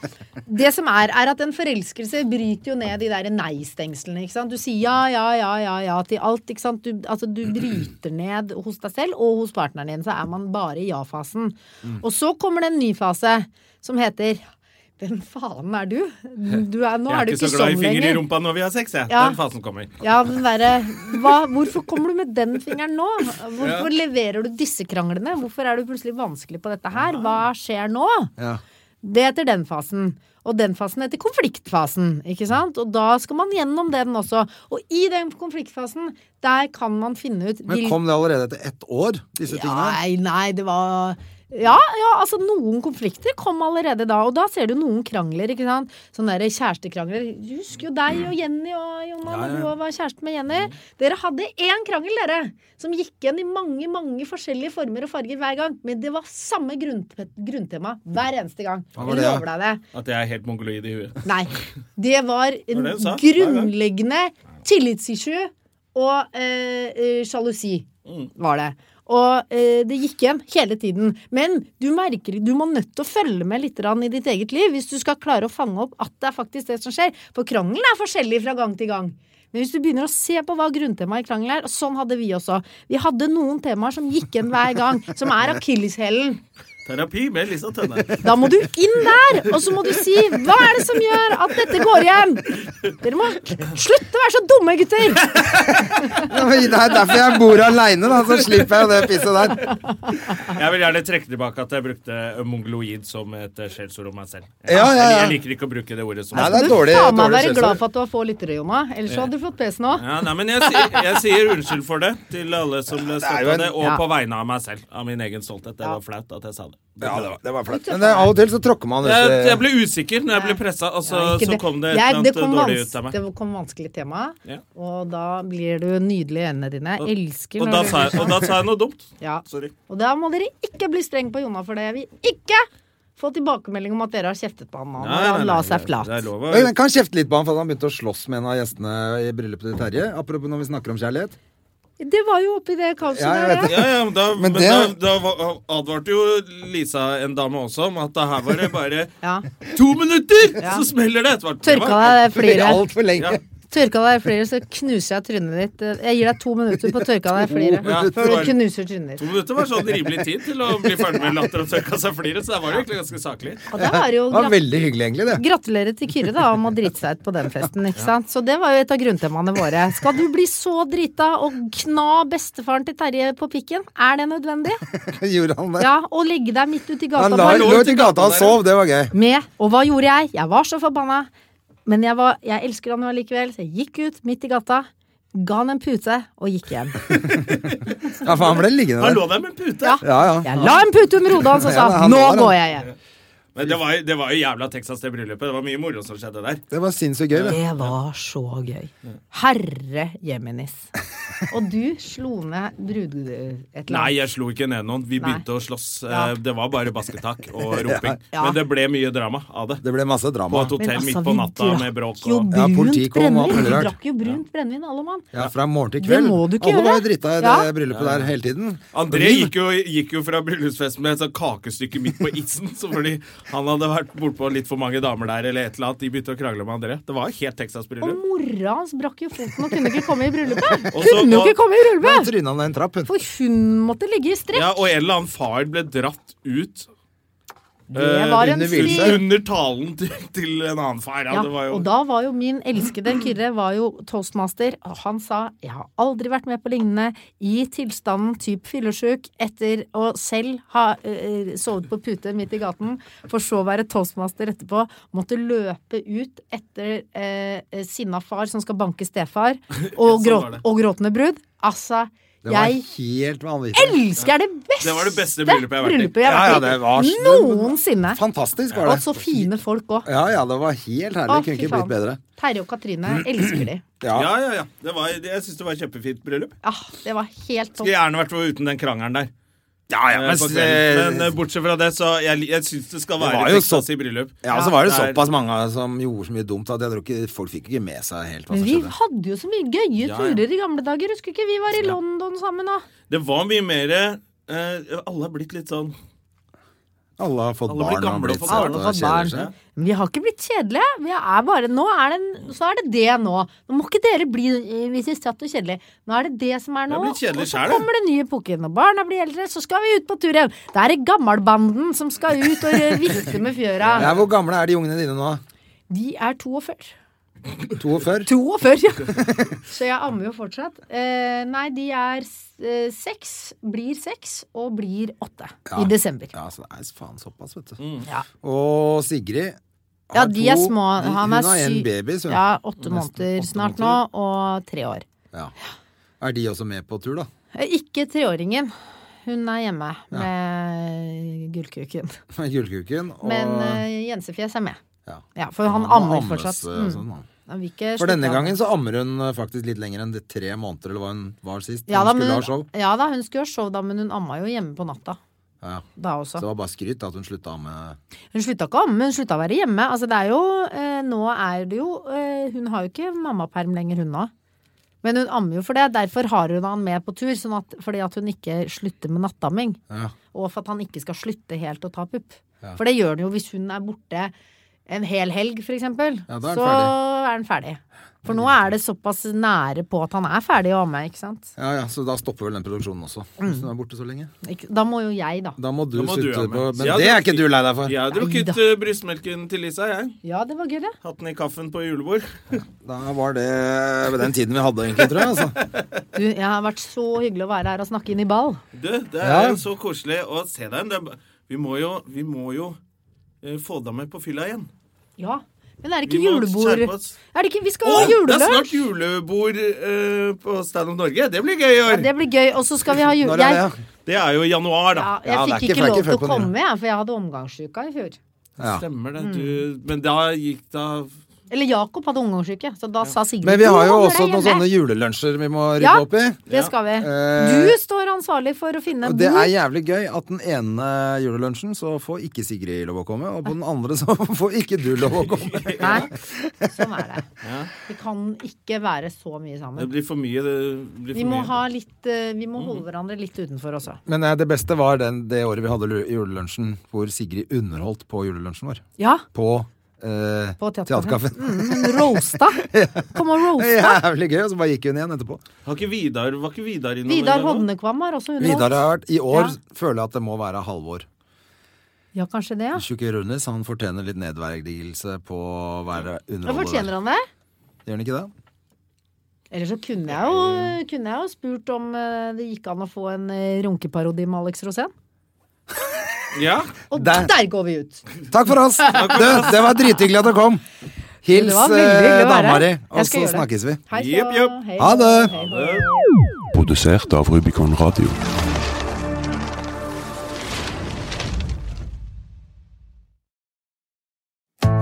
det som er, er at en forelskelse bryter jo ned de der nei-stengslene, ikke sant. Du sier ja, ja, ja, ja, ja til alt, ikke sant. Du, altså du bryter ned hos deg selv og hos partneren din, så er man bare i ja-fasen. Og så kommer det en ny fase som heter Hvem faen er du? du er, nå Jeg er er du ikke ikke så glad i sånn fingre i lenger. rumpa når vi har sex, jeg. Ja. Den fasen kommer. Ja, den derre hva- Hvorfor kommer du med den fingeren nå? Hvorfor leverer du disse kranglene? Hvorfor er du plutselig vanskelig på dette her? Hva skjer nå? Ja. Det heter den fasen. Og den fasen heter konfliktfasen. ikke sant? Og da skal man gjennom den også. Og i den konfliktfasen, der kan man finne ut Men vil- kom det allerede etter ett år, disse tingene? Nei, nei, det var Ja, ja, altså noen konflikter kom allerede da, og da ser du noen krangler, ikke sant. Sånne der kjærestekrangler. Du husker jo deg og Jenny og Jonna når du var kjæreste med Jenny. Dere hadde én krangel, dere, som gikk igjen i mange, mange forskjellige former og farger hver gang. Men det var samme grunn, grunntema hver eneste gang. Hva var Jeg det, ja? lover deg det. At jeg er helt mongoloid i huet. Nei. Det var var en det hun sa. grunnleggende tillitsissue og eh, eh, sjalusi, Mm. var det. Og eh, det gikk igjen hele tiden. Men du merker Du må nødt til å følge med litt grann i ditt eget liv hvis du skal klare å fange opp at det er faktisk det som skjer. For krangelen er forskjellig fra gang til gang. Men hvis du begynner å se på hva grunntemaet i krangelen er, og sånn hadde vi også. Vi hadde noen temaer som gikk igjen hver gang, som er akilleshælen. Terapi med Lisa Tønne. Da må du inn der, og så må du si hva er det som gjør at dette går igjen? Dere må slutte å være så [LAUGHS] dumme, gutter! Ja, men Det er derfor jeg bor aleine, da, så slipper jeg jo det pisset der. Jeg vil gjerne trekke tilbake at jeg brukte eh, mongoloid som et eh, skjellsord om meg selv. Jeg, Ja, ja, ja. jeg liker ikke å bruke det ordet som Nei, det er Du dårlig, faen meg dårlig være glad skjellsord. for at du har få lyttere, Jonna. Ellers hadde du fått PC nå. Ja, nei, men jeg, sier- jeg sier unnskyld for det til alle som ble jo støtta en- det, og Ja. på vegne av meg selv. Av min egen stolthet. Det var flaut at jeg sa det. Ja, det var, det var flaut. Men det, av og til så tråkker man Jeg, jeg disse ble usikker når jeg ble pressa, og så, Ikke så det- kom det et Jeg- eller det annet kom dårlig vans- ut av meg. Det kom vanskelig tema, Ja. og da blir du nydelig i øynene dine. Jeg elsker Og når da, du sa blir jeg, og da sa jeg noe [LAUGHS] dumt. Ja. Sorry. Og da må dere ikke bli streng på Jonna for det. Jeg vil ikke få tilbakemelding om at dere har kjeftet på han nå Nei, når nei, han la nei, seg det- flat. Det er lov å Men jeg kan kjefte litt på han for at han begynte å slåss med en av gjestene i bryllupet til Terje. Apropos når vi snakker om kjærlighet. Det var jo oppi det kaoset Ja, jeg der, vet ja. det. Ja, ja, men da, Men men det- da, da var- advarte jo Lisa en dame også om at det her var det bare ja. to minutter, Ja. så smeller det! Det var- det Tørka var- deg det fliret. Altfor lenge. Tørka deg i flere, så knuser jeg trynet ditt. Jeg gir deg to minutter på å tørke av deg i flere. Ja, det Før var- du knuser trynet To ditt. minutter var sånn rimelig tid til å bli ferdig med latter og tørka seg fliret, så det var jo egentlig ganske saklig. Og det var jo Det var grat veldig hyggelig, egentlig, det. [LAUGHS] Gratulerer til Kyrre da om å drite seg ut på den festen. ikke sant? Så det var jo et av grunntemaene våre. Skal du bli så drita og kna bestefaren til Terje på pikken? Er det nødvendig? Gjorde han det? Ja, Og legge deg midt ute i gata Han la bare- lå ute i gata og sov, det var gøy. med. Og hva gjorde jeg? Jeg var så forbanna. Men jeg, var, jeg elsker han jo allikevel, så jeg gikk ut midt i gata, ga han en pute og gikk hjem. Ja, for han ble liggende Han der. lå der med en pute! Ja. Ja, ja. Jeg la en pute under hodet hans og Ja, men sa han 'nå var han. går jeg hjem'. Men det var, jo- det var jo jævla Texas det bryllupet. Det var mye moro som skjedde der. Det var sinnssykt gøy, det. Det var så gøy. Herre jeminis. Og du slo ned brud... Et eller Nei, annet. jeg slo ikke ned noen. Vi Nei. begynte å slåss. Ja. Eh, Det var bare basketak og roping. [LAUGHS] Ja. Men det ble mye drama av det. Det ble masse På drama. et hotell Men altså, midt på vi natta med drakk bråk Jo, og Ja, brunt politiet kom og alt brennevin. mulig Vi rart. drakk jo brunt brennevin, alle mann. Ja, Fra morgen til Det kveld. må du ikke Alle var gjøre. jo drita i det Ja. bryllupet der hele tiden. André gikk jo, gikk jo fra bryllupsfesten med et sånt kakestykke midt på isen, så fordi han hadde vært bortpå litt for mange damer der, eller et eller annet. De begynte å krangle med André. Det var helt Og Texas-bryllup. mora hans brakk jo foten og kunne ikke komme i bryllupet. Og [LAUGHS] så- Kunne jo ikke komme i Da bryllupet! tryna han ned en trapp, hun. For hun måtte ligge i strekk. Ja, og en eller annen far ble dratt ut Det eh, var en under Wilson. stil. under talen til, til en annen far. Ja, Ja, det var jo og da var jo min elskede Kyrre var jo toastmaster, og han sa 'jeg har aldri vært med på lignende', i tilstanden typ fyllesyk, etter å selv ha eh, sovet på pute midt i gaten, for så å være toastmaster etterpå, måtte løpe ut etter eh, sinna far som skal [LAUGHS] banke stefar, og, sånn var gråt, det. og gråtende brud. Altså, Det var jeg helt vanvittig. elsker det beste, Det var det beste bryllupet jeg har vært i. bryllupet jeg Ja, har ja, vært i det var så- noensinne. Fantastisk var Og det. så fine folk òg. Ja, ja, det var helt herlig. Kunne ikke blitt bedre. Terje og Katrine elsker de. Ja, ja, ja. Det var, det- jeg syns det var et kjempefint bryllup. Ah, det var helt topp. Skulle gjerne vært uten den krangelen der. ja, eh, men på s- kvelden. men eh, bortsett fra det, så jeg, jeg syns det skal være var jo Texas så- i bryllup. Ja, og så var det Ja, det er- såpass mange som gjorde så mye dumt at jeg tror ikke folk fikk ikke med seg helt hva Men som vi skjedde. hadde jo så mye gøye ja. turer i gamle dager. Husker ikke vi var i London sammen da? Det var mye mer eh, Alle har blitt litt sånn Alle har fått Alle blir barn og gamle og blitt får søte barn. og Alle fått kjeder barn. seg. Men vi har ikke blitt kjedelige. Vi er bare, nå er det, så er det det nå. Nå må ikke dere bli eh, vi synes satt og kjedelige. Nå er det det som er nå. Jeg er blitt kjedelig Og så selv, jeg. kommer det nye epoke. Når barna blir eldre, så skal vi ut på tur igjen. Det er gammelbanden som skal ut og eh, vifte med fjøra. Ja, hvor gamle er de ungene dine nå? De er 42. 42? 42, ja. [LAUGHS] Så jeg ammer jo fortsatt. Eh, nei, de er s- eh, seks, blir seks og blir åtte i desember. Ja, så det er faen såpass, vet du. Ja. Og Sigrid har Ja, de er to- små. de- Han er hun har en syv- baby, så Ja, åtte Nesten måneder åtte snart nå, måneder. og tre år. Ja. Er de også med på tur, da? [LAUGHS] Eh, Ikke treåringen. Hun er hjemme med gullkuken. Med gullkuken og Men eh, Jensefjes er med. Ja. Ja, for han Han ammer ammes, fortsatt. eh, Mm. sånn, han. Han vil ikke For slutte denne å amme. gangen så ammer hun eh, faktisk litt lenger enn de tre måneder eller hva hun var sist. ja, hun da, skulle men ha show. hun, ja da, hun skulle ha show da, men hun amma jo hjemme på natta Ja. da Så også. det var bare skryt da, at hun slutta å amme. Hun slutta ikke å amme, men hun slutta å være hjemme. Altså det er jo, eh, nå er det jo eh, Hun har jo ikke mammaperm lenger, hun nå. Men hun ammer jo for det. Derfor har hun han med på tur, sånn at, fordi at hun ikke slutter med nattamming. Ja. Og for at han ikke skal slutte helt å ta pupp. For det gjør han jo hvis hun er borte en hel helg, for eksempel. Ja, da er han så ferdig. er han ferdig. For nå er det såpass nære på at han er ferdig å amme, ikke sant. Ja, ja, så da stopper vel den produksjonen også. Mm. Hvis hun er borte så lenge. Ikke- Da må jo jeg, da. Da må du, Da må du slutte amme. på Men Ja, det du- er ikke du lei deg for. Jeg har drukket Neida. eh, brystmelken til Lisa, jeg. Ja, det var gøy, det. Hatt den i kaffen på julebord. Da var det ved den tiden vi hadde, egentlig, tror jeg. Altså. Du, jeg har vært så hyggelig å være her og snakke inn i ball. Du, det Ja. er jo så koselig å se deg. Det er- Vi må jo, vi må jo eh, få deg med på fylla igjen. Ja. Men er det Vi ikke må julebord skjerpe oss. Er det ikke Vi skal Å, ha det er snart julelunsj! julebord eh, på Stand Up Norge. Det blir gøy i Ja, år. det blir gøy. Og så skal vi ha jule... Når er det? Jeg, ja? Det er jo i januar, da. ja, jeg Ja, det er fikk ikke- for ikke det er lov ikke til å før på nyåret. komme, jeg, for jeg hadde omgangsuka i fjor. Ja. Stemmer det. Mm. Du, men da gikk da Eller Jakob hadde omgangsuke, så da sa Sigrid Men vi har jo «Nå holder også jeg noen hjemme». sånne julelunsjer vi må rydde Ja. opp i. Det skal vi. Eh, Du står ansvarlig for å finne Og en det er bord. jævlig gøy at den ene julelunsjen så får ikke Sigrid lov å komme, og på den andre så [LAUGHS] får ikke du lov å komme. Nei, sånn er [LAUGHS] det. Vi kan ikke være så mye Det sammen. blir for mye. Det blir for Vi må, mye. Mm. ha litt, eh, vi må holde hverandre litt utenfor også. [LAUGHS] Men eh, det beste var den, det året vi hadde lu- julelunsjen hvor Sigrid underholdt på julelunsjen vår. Ja, På, eh, på Teaterkaffen. Teaterkaffen. Mm, hun roasta! Kom og [LAUGHS] Det roasta! er Jævlig gøy, og så bare gikk hun igjen etterpå. Har ikke Vidar, var ikke Vidar innom? Vidar en gang nå? Hovnekvam har også Vidar underholdt. har vært I år Ja. føler jeg at det må være Halvor. Ja, kanskje det, ja. Tjukke Runis han fortjener litt nedverdigelse på å være Da underholder. fortjener han det. Gjør han ikke det? Eller så kunne jeg Eh. jo, kunne jeg jo spurt om eh, det gikk an å få en eh, runkeparodi med Alex Rosén. Ja. Og Der. der, går vi ut! Takk for oss! Du, det var drithyggelig at du kom. Hils Det var veldig hyggelig eh, å dama være her. di, Jeg og skal så gjøre det. snakkes vi. Hei så, Jepp, jepp. hei Ha så, det. hei så. Produsert av Rubicon Radio.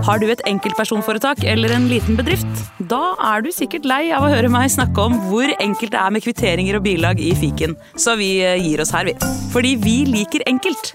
Har du et enkeltpersonforetak eller en liten bedrift? Da er du sikkert lei av å høre meg snakke om hvor enkelt det er med kvitteringer og bilag i fiken, så vi eh, gir oss her, vi. Fordi vi liker enkelt.